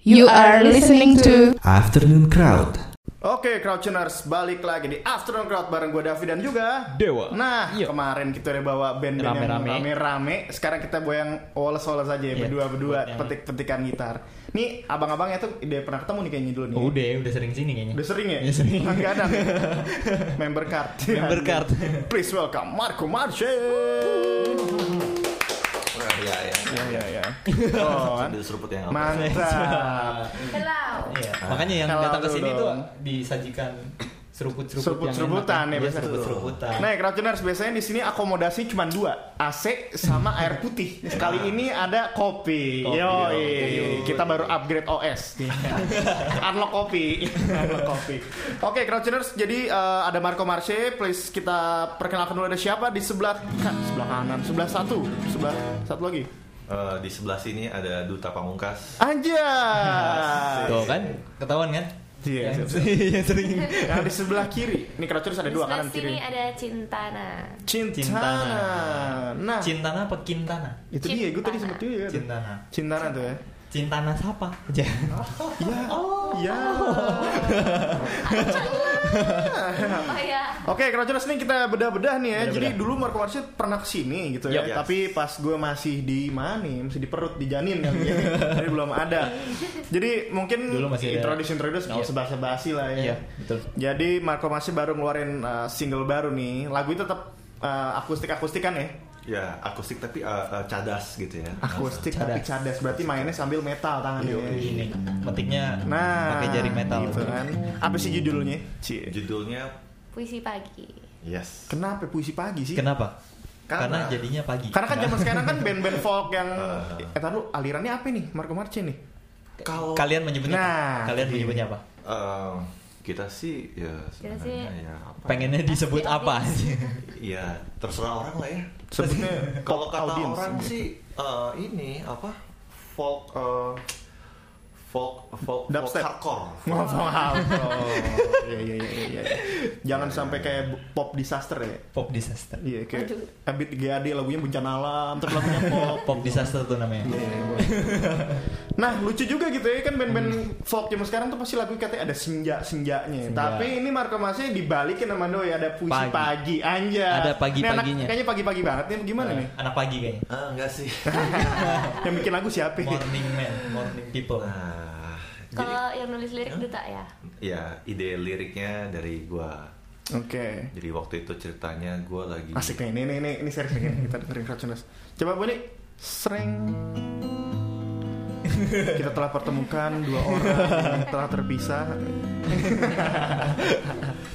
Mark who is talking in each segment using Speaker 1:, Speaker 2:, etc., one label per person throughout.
Speaker 1: You are listening to
Speaker 2: Afternoon Crowd.
Speaker 3: Oke, Crouchuners, balik lagi di Afternoon Crowd bareng gue Davi dan juga
Speaker 4: Dewa. Iya.
Speaker 3: Nah, kemarin kita udah bawa band-band yang
Speaker 4: Rame-rame. Iya,
Speaker 3: rame-rame. Sekarang kita bawa yang woles-woles aja ya, berdua-berdua petik-petikan gitar. Nih, abang-abangnya tuh udah pernah ketemu nih kayaknya dulu nih. ya.
Speaker 4: Oh, udah, udah sering sini kayaknya.
Speaker 3: Udah sering ya?
Speaker 4: Iya, sering.
Speaker 3: Langganan. Member card.
Speaker 4: Member card.
Speaker 3: Please welcome Marco Marce.
Speaker 4: Iya,
Speaker 2: Ya, ya.
Speaker 3: Ya ya ya. Oh, kan?
Speaker 2: Sambil seruput ya. yang apa?
Speaker 3: mantap.
Speaker 1: Hello.
Speaker 4: Iya. Makanya yang
Speaker 3: Kalau
Speaker 4: datang ke
Speaker 3: lu
Speaker 4: sini
Speaker 3: dong.
Speaker 4: tuh disajikan seruput-seruput yang
Speaker 3: seruput-seruputan ya
Speaker 4: enak. Iya,
Speaker 3: biasanya.
Speaker 4: seruput-seruputan.
Speaker 3: Nah, Crowdtuners biasanya di sini akomodasi cuma dua, AC sama air putih. Kali ini ada Nah. kopi.
Speaker 4: Kopi,
Speaker 3: Yoi.
Speaker 4: yoi.
Speaker 3: kita baru upgrade OS. Unlock kopi. Unlock kopi. Oke, Crowdtuners, jadi eh, ada Marco Marche, please kita perkenalkan dulu ada siapa di sebelah kan, sebelah kanan, sebelah satu, sebelah satu lagi.
Speaker 2: Eh, di sebelah sini ada Duta Pamungkas.
Speaker 3: Anjay.
Speaker 4: Tuh kan, ketahuan kan?
Speaker 3: Iya, siap,
Speaker 4: Yang-
Speaker 3: siap.
Speaker 4: yang sering.
Speaker 3: Nah, di sebelah kiri. Nih Crowdtuners ada
Speaker 1: Di
Speaker 3: dua
Speaker 1: sebelah
Speaker 3: kanan
Speaker 1: sini
Speaker 3: kiri.
Speaker 1: ada nah. Cintana.
Speaker 3: Cintana. Nah,
Speaker 4: Cintana apa Kintana?
Speaker 3: itu dia, gue tadi sempet juga. kan? tuh.
Speaker 4: Cintana.
Speaker 3: Cintana tuh ya.
Speaker 4: Cintana siapa? Aja.
Speaker 3: Iya.
Speaker 1: Oh ya.
Speaker 3: Oke, Crouchers nih kita bedah-bedah nih ya. Jadi dulu Marco Marsyid pernah kesini gitu ya.
Speaker 2: Yap.
Speaker 3: Tapi pas gue masih di mana nih? Masih di perut, di janin kan. ya. Jadi belum ada. Jadi mungkin
Speaker 4: Dulu masih ada.
Speaker 3: introduce introduce
Speaker 4: Iya.
Speaker 3: sebahasa basi lah ya.
Speaker 4: Iya, betul.
Speaker 3: Jadi Marco Marsyid baru ngeluarin uh, single baru nih. Lagu itu tetap akustik-akustik kan ya?
Speaker 2: Ya, akustik tapi eh, eh, cadas gitu ya.
Speaker 3: Akustik tapi
Speaker 4: Cadas.
Speaker 3: cadas. Berarti mainnya sambil metal tangannya.
Speaker 4: Ini metiknya
Speaker 3: Nah,
Speaker 4: pakai jari metal.
Speaker 3: gitu kan. Apa sih judulnya? Cie.
Speaker 2: Judulnya
Speaker 1: Puisi pagi.
Speaker 2: Yes.
Speaker 3: Kenapa puisi pagi sih?
Speaker 4: Kenapa?
Speaker 3: Karena-
Speaker 4: Karena, jadinya pagi.
Speaker 3: Karena kan zaman sekarang kan band-band folk yang
Speaker 2: Ah.
Speaker 3: eh tahu alirannya apa nih? Marco Marce nih.
Speaker 2: Kalau
Speaker 4: kalian menyebutnya
Speaker 3: Nah,
Speaker 4: apa? Kalian
Speaker 3: iya.
Speaker 4: menyebutnya apa?
Speaker 2: eh, kita sih ya
Speaker 1: Kita
Speaker 2: sebenarnya
Speaker 1: sih
Speaker 2: ya apa?
Speaker 4: Pengennya disebut
Speaker 1: Pasti
Speaker 4: apa?
Speaker 2: Ya terserah orang lah ya.
Speaker 3: Sebutnya
Speaker 2: Kalau kata
Speaker 3: audience.
Speaker 2: orang sih eh, ini apa? Folk eh, folk folk, folk
Speaker 3: Dubstep.
Speaker 2: hardcore.
Speaker 3: ngomong apa? Iya iya iya iya. Jangan sampai kayak bu- pop disaster ya.
Speaker 4: Pop disaster.
Speaker 3: Iya kayak
Speaker 1: Aduh.
Speaker 3: Abid GAD lagunya bencana alam, terus lagunya pop.
Speaker 4: Pop disaster tuh namanya.
Speaker 3: Iya, iya, boleh. Nah lucu juga gitu ya kan band-band folk zaman sekarang tuh pasti lagu katanya ada senja senjanya.
Speaker 4: Senja.
Speaker 3: Tapi ini Marco Masnya dibalikin sama Doi ada puisi pagi,
Speaker 4: Pagi.
Speaker 3: anjay.
Speaker 4: Ada
Speaker 3: Ini anak
Speaker 4: pagi-paginya.
Speaker 3: Kayaknya pagi-pagi banget nih gimana nih?
Speaker 4: Anak pagi kayaknya.
Speaker 2: Ah, enggak sih.
Speaker 3: Yang bikin lagu siapa? ya?
Speaker 4: Morning man, morning people.
Speaker 2: Nah, jadi
Speaker 1: Kalau yang nulis lirik duta ya.
Speaker 2: ya ide liriknya dari gua.
Speaker 3: Oke.
Speaker 2: Jadi waktu itu ceritanya gue lagi
Speaker 3: Asik nih, ini, ini, ini, ini serius nih, kita dengerin Crowdtuners Coba bunyi Sering Kita telah pertemukan dua orang yang telah terpisah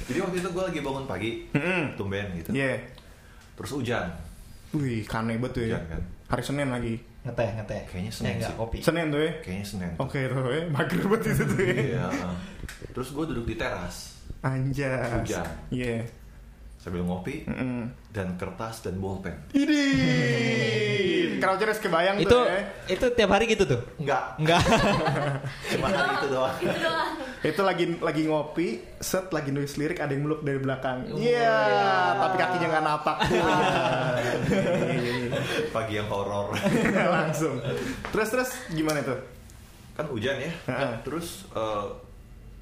Speaker 2: Jadi waktu itu gue lagi bangun pagi,
Speaker 3: Mm-mm.
Speaker 2: tumben gitu.
Speaker 3: Yeah
Speaker 2: Terus hujan,
Speaker 3: Wih, kane banget tuh ya
Speaker 2: Iya, kan.
Speaker 3: Hari Senin lagi
Speaker 4: Ngeteh, ngeteh.
Speaker 2: Kayaknya Senin
Speaker 4: Eh, enggak,
Speaker 2: sih.
Speaker 4: kopi.
Speaker 3: Senin tuh ya
Speaker 2: kayaknya Senin.
Speaker 3: Oke tuh ya, mager banget itu tuh ya
Speaker 2: Iya. Terus gue duduk di teras
Speaker 3: Anjas Hmm.
Speaker 2: Hujan.
Speaker 3: Iya
Speaker 2: sambil ngopi
Speaker 3: Mm-mm.
Speaker 2: dan kertas dan bolpen.
Speaker 3: Ini
Speaker 2: Iya.
Speaker 3: Crowdtuners kebayang
Speaker 4: Itu
Speaker 3: tuh ya
Speaker 4: itu tiap hari gitu tuh.
Speaker 2: Enggak,
Speaker 4: Enggak.
Speaker 2: cuma hari itu doang.
Speaker 1: Itu doang.
Speaker 3: Itu lagi lagi ngopi, set lagi nulis lirik ada yang meluk dari belakang.
Speaker 4: Oh,
Speaker 3: Iya, tapi kakinya nggak napak.
Speaker 4: Iya,
Speaker 2: Pagi yang horor.
Speaker 3: Langsung. Terus terus gimana tuh?
Speaker 2: Kan hujan ya.
Speaker 3: Heeh.
Speaker 2: Terus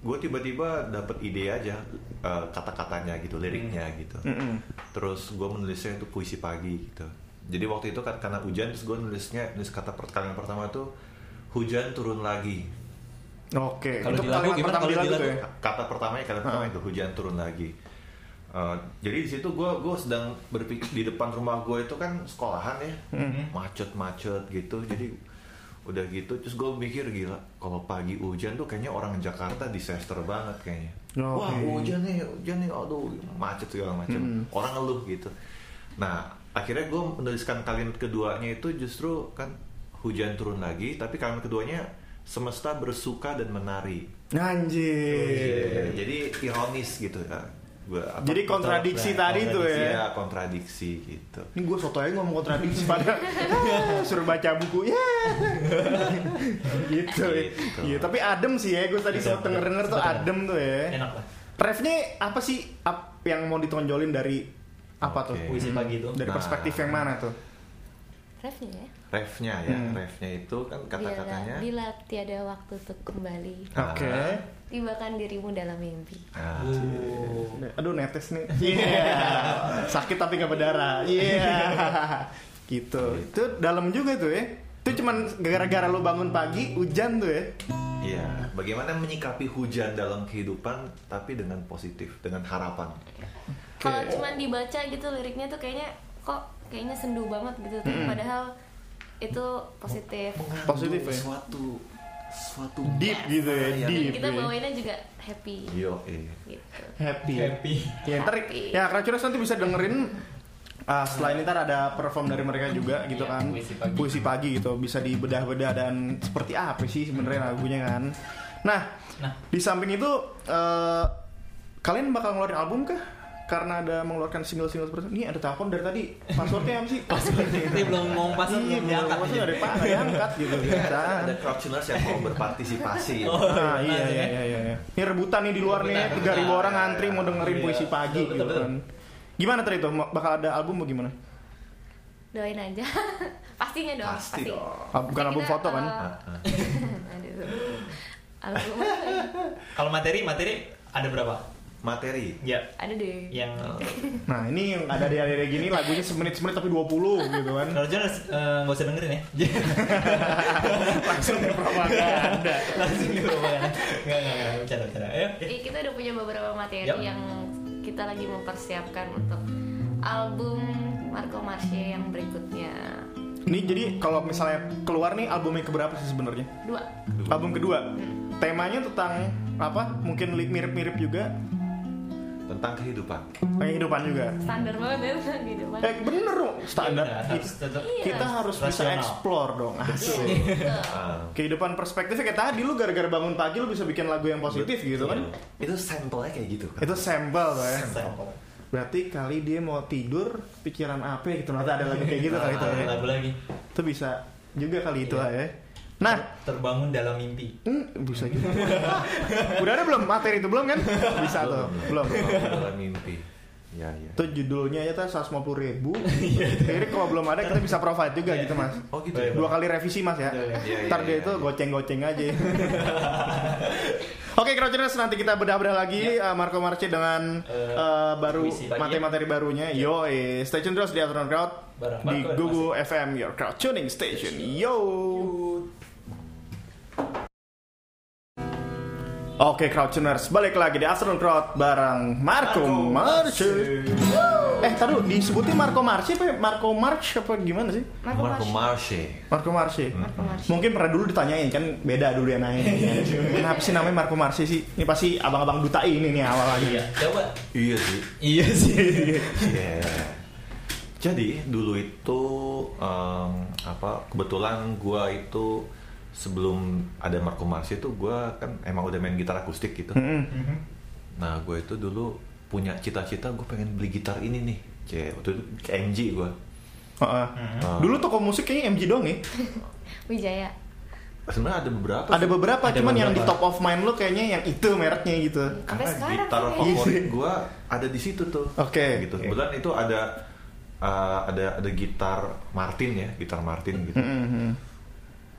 Speaker 2: gue tiba-tiba dapet ide aja eh, kata-katanya gitu, liriknya gitu.
Speaker 3: Mm-mm.
Speaker 2: Terus gue menulisnya itu puisi pagi gitu. Jadi waktu itu kan karena hujan terus gue nulisnya nulis kata per- kalimat pertama tuh hujan turun lagi.
Speaker 3: Oke.
Speaker 4: Kalau
Speaker 3: Itu
Speaker 4: di lagu
Speaker 3: kalimat
Speaker 4: gimana?
Speaker 3: pertama
Speaker 4: Kalau
Speaker 3: di
Speaker 4: di
Speaker 3: lagu tuh
Speaker 4: lagu?
Speaker 3: ya?
Speaker 2: Kata pertamanya kalimat pertama itu hujan turun lagi. Eh, jadi di situ gue gue sedang berpikir di depan rumah gue itu kan sekolahan ya macet-macet gitu. Jadi udah gitu terus gue mikir gila kalau pagi hujan tuh kayaknya orang Jakarta disaster banget kayaknya.
Speaker 3: Oh,
Speaker 2: Wah
Speaker 3: iya.
Speaker 2: hujan nih hujan nih aduh macet segala macam orang ngeluh gitu nah akhirnya gue menuliskan kalimat keduanya itu justru kan hujan turun lagi tapi kalimat keduanya semesta bersuka dan menari
Speaker 3: Iya,
Speaker 4: Oh, iya.
Speaker 3: Anjir.
Speaker 2: Iya, jadi ironis gitu ya gue
Speaker 3: Jadi kontradiksi
Speaker 4: Kontradiksi, iya.
Speaker 3: tadi tuh
Speaker 2: ya
Speaker 3: ya.
Speaker 2: kontradiksi gitu
Speaker 3: Ini gue sotoy ngomong kontradiksi pada Ah, suruh baca buku ya. gitu. ya.
Speaker 2: Gitu.
Speaker 3: Iya, tapi adem sih ya. Gue tadi
Speaker 4: Adem,
Speaker 3: sempat denger-denger
Speaker 4: adem.
Speaker 3: tuh
Speaker 4: Iya, Sempet
Speaker 3: adem tuh ya.
Speaker 4: Enak lah.
Speaker 3: Refnya apa sih Ap- yang mau ditonjolin dari apa
Speaker 2: Oke.
Speaker 3: tuh?
Speaker 4: Puisi pagi itu.
Speaker 3: Dari
Speaker 2: Nah.
Speaker 3: perspektif yang mana tuh?
Speaker 1: refnya ya.
Speaker 2: refnya ya
Speaker 3: Hmm.
Speaker 2: refnya itu kan
Speaker 1: Iya,
Speaker 2: kata-katanya
Speaker 1: Bila, bila tiada waktu untuk kembali,
Speaker 2: Ah.
Speaker 3: Oke.
Speaker 1: tibakan dirimu dalam mimpi.
Speaker 2: Ah,
Speaker 3: Aduh netes nih. Oh. Iya. Sakit tapi nggak berdarah. Iya. Gitu. Itu dalam juga tuh ya. Itu cuman gara-gara lu bangun pagi hujan tuh ya.
Speaker 2: iya bagaimana menyikapi hujan dalam kehidupan tapi dengan positif dengan harapan
Speaker 1: Kalau
Speaker 2: Iya.
Speaker 1: cuman dibaca gitu liriknya tuh kayaknya kok kayaknya sendu banget gitu, tapi padahal itu positif.
Speaker 2: Oh,
Speaker 3: Positif ya.
Speaker 2: suatu suatu
Speaker 3: Deep gitu ya,
Speaker 2: Iya.
Speaker 1: Dan
Speaker 3: deep.
Speaker 1: kita
Speaker 3: ya.
Speaker 1: bawainnya juga happy
Speaker 2: yo eh.
Speaker 1: gitu.
Speaker 3: Happy.
Speaker 4: Happy.
Speaker 3: Ya, ntar,
Speaker 1: Happy.
Speaker 3: ya Keracunas nanti bisa dengerin ah, setelah ini ntar ada perform dari mereka juga gitu kan
Speaker 4: Iya, puisi pagi.
Speaker 3: puisi pagi gitu bisa dibedah-bedah dan seperti apa sih sebenarnya lagunya kan nah,
Speaker 4: Nah.
Speaker 3: di samping itu eh, kalian bakal ngeluarin album kah karena ada mengeluarkan single-single seperti ini ada telepon dari tadi passwordnya apa sih
Speaker 4: Ini belum ngomong pas
Speaker 3: Iya,
Speaker 4: belum diangkat.
Speaker 3: maksudnya ada pak nggak diangkat gitu biasa
Speaker 2: ada crowdtuners yang mau berpartisipasi
Speaker 4: Oh.
Speaker 3: Nah, iya, iya, iya, iya, iya. Ini rebutan nih di luar nih,
Speaker 4: Rebutan,
Speaker 3: tiga ribu
Speaker 4: rebutan.
Speaker 3: orang ngantri mau dengerin
Speaker 4: Iya.
Speaker 3: puisi pagi
Speaker 4: Betul,
Speaker 3: gitu
Speaker 4: betul.
Speaker 3: kan. Gimana tadi itu? Bakal ada album atau gimana?
Speaker 1: Doain aja. Pastinya dong,
Speaker 2: Pasti dong.
Speaker 3: Ah, bukan
Speaker 1: Pasti
Speaker 3: album
Speaker 1: kita,
Speaker 3: foto kan?
Speaker 1: eh,
Speaker 2: Ah, ah.
Speaker 1: Aduh. Album apa ya?
Speaker 4: Kalau materi, materi ada berapa?
Speaker 2: materi
Speaker 4: Ya,
Speaker 1: ada deh.
Speaker 2: Iya,
Speaker 4: yang
Speaker 3: Nah, ini yang ada di area gini lagunya semenit-semenit tapi 20 gitu kan.
Speaker 4: kalau Jonas eh, nggak usah dengerin ya.
Speaker 3: Langsung propaganda.
Speaker 4: Langsung di rumah kan. Enggak, enggak, enggak, bercanda, bercanda. Ayo.
Speaker 1: Eh, kita udah punya beberapa materi
Speaker 4: Yap.
Speaker 1: yang kita lagi mempersiapkan untuk album Marco Marche yang berikutnya
Speaker 3: Ini jadi kalau misalnya keluar nih albumnya keberapa sih sebenarnya?
Speaker 1: dua
Speaker 3: Album kedua. Temanya tentang apa? Mungkin li- mirip-mirip juga
Speaker 2: tentang kehidupan
Speaker 3: kehidupan juga.
Speaker 1: standar banget ya tentang kehidupan
Speaker 3: Eh bener dong standar.
Speaker 4: Ya udah, harus tetap
Speaker 3: Kita harus bisa
Speaker 4: Rasional.
Speaker 3: explore dong. Asik.
Speaker 2: Ah,
Speaker 3: kehidupan perspektifnya kayak tadi lu gara-gara bangun pagi lu bisa bikin lagu yang positif gitu kan
Speaker 2: Iya. itu sampelnya kayak gitu
Speaker 3: itu sampel lah ya
Speaker 4: Sampel.
Speaker 3: berarti kali dia mau tidur pikiran apa gitu ternyata ada lagu kayak gitu kali itu
Speaker 4: Ada
Speaker 3: ya.
Speaker 4: lagu lagi.
Speaker 3: itu bisa juga kali itu lah ya nah
Speaker 4: Terbangun dalam mimpi.
Speaker 3: hmm, bisa juga udah ada belum materi itu belum kan bisa tuh belum
Speaker 2: Kehidupan mimpi ya ya
Speaker 3: itu judulnya ya tuh 150 ribu jadi kalau belum ada kita bisa provide juga
Speaker 4: Iya.
Speaker 3: gitu mas
Speaker 2: oh gitu
Speaker 4: Boleh,
Speaker 2: ya?
Speaker 3: dua kali revisi mas ya
Speaker 4: Iya,
Speaker 2: iya,
Speaker 3: ntar
Speaker 2: iya,
Speaker 3: dia
Speaker 2: iya.
Speaker 3: itu goceng-goceng aja Oke, Crouchers nanti kita bedah-bedah lagi uh, Marco Marce dengan
Speaker 4: Iya. Eh,
Speaker 3: uh, baru
Speaker 4: puisi pagi.
Speaker 3: materi-materi barunya. Yo, eh. stay tune terus di Afternoon Crowd di
Speaker 4: Bareng Marco dan
Speaker 3: Google FM Your Crowd Tuning Station. Yo. Oke, Crouchers, balik lagi di Afternoon Crowd bareng Marco, Marce. Eh, taruh disebutin Marco Marce apa ya? Marco March apa gimana sih?
Speaker 1: Marco
Speaker 2: Marco
Speaker 1: Marche
Speaker 2: Marche
Speaker 3: Marco Marce.
Speaker 1: Marco Marche
Speaker 3: Mungkin pernah dulu ditanyain kan beda dulu ya nanya. Kenapa sih namanya Marco Marsi sih? Ini pasti abang-abang duta ini nih awal lagi. ya.
Speaker 4: Iya, coba.
Speaker 2: iya sih
Speaker 4: Iya sih.
Speaker 2: Iya. Jadi dulu itu em, apa kebetulan gua itu sebelum ada Marco Marsi itu gua kan emang udah main gitar akustik gitu.
Speaker 3: Hmm.
Speaker 2: Nah gue itu dulu punya cita-cita gue pengen beli gitar ini nih. Cie, waktu itu ke MG gue.
Speaker 3: Heeh. Dulu toko musik kayaknya MG dong ya.
Speaker 1: Wijaya
Speaker 2: Sebenarnya ada beberapa.
Speaker 3: Ada beberapa,
Speaker 4: Ada
Speaker 3: cuman yang di
Speaker 4: beberapa.
Speaker 3: top of mind lo kayaknya yang itu mereknya gitu.
Speaker 1: sampai
Speaker 2: Karena
Speaker 1: sekarang
Speaker 2: gitar
Speaker 1: kayaknya.
Speaker 2: favorit gue ada di situ tuh.
Speaker 3: Oke.
Speaker 2: Gitu. Kebetulan itu ada eh, ada ada gitar Martin ya, gitar Martin gitu.
Speaker 3: Mhm.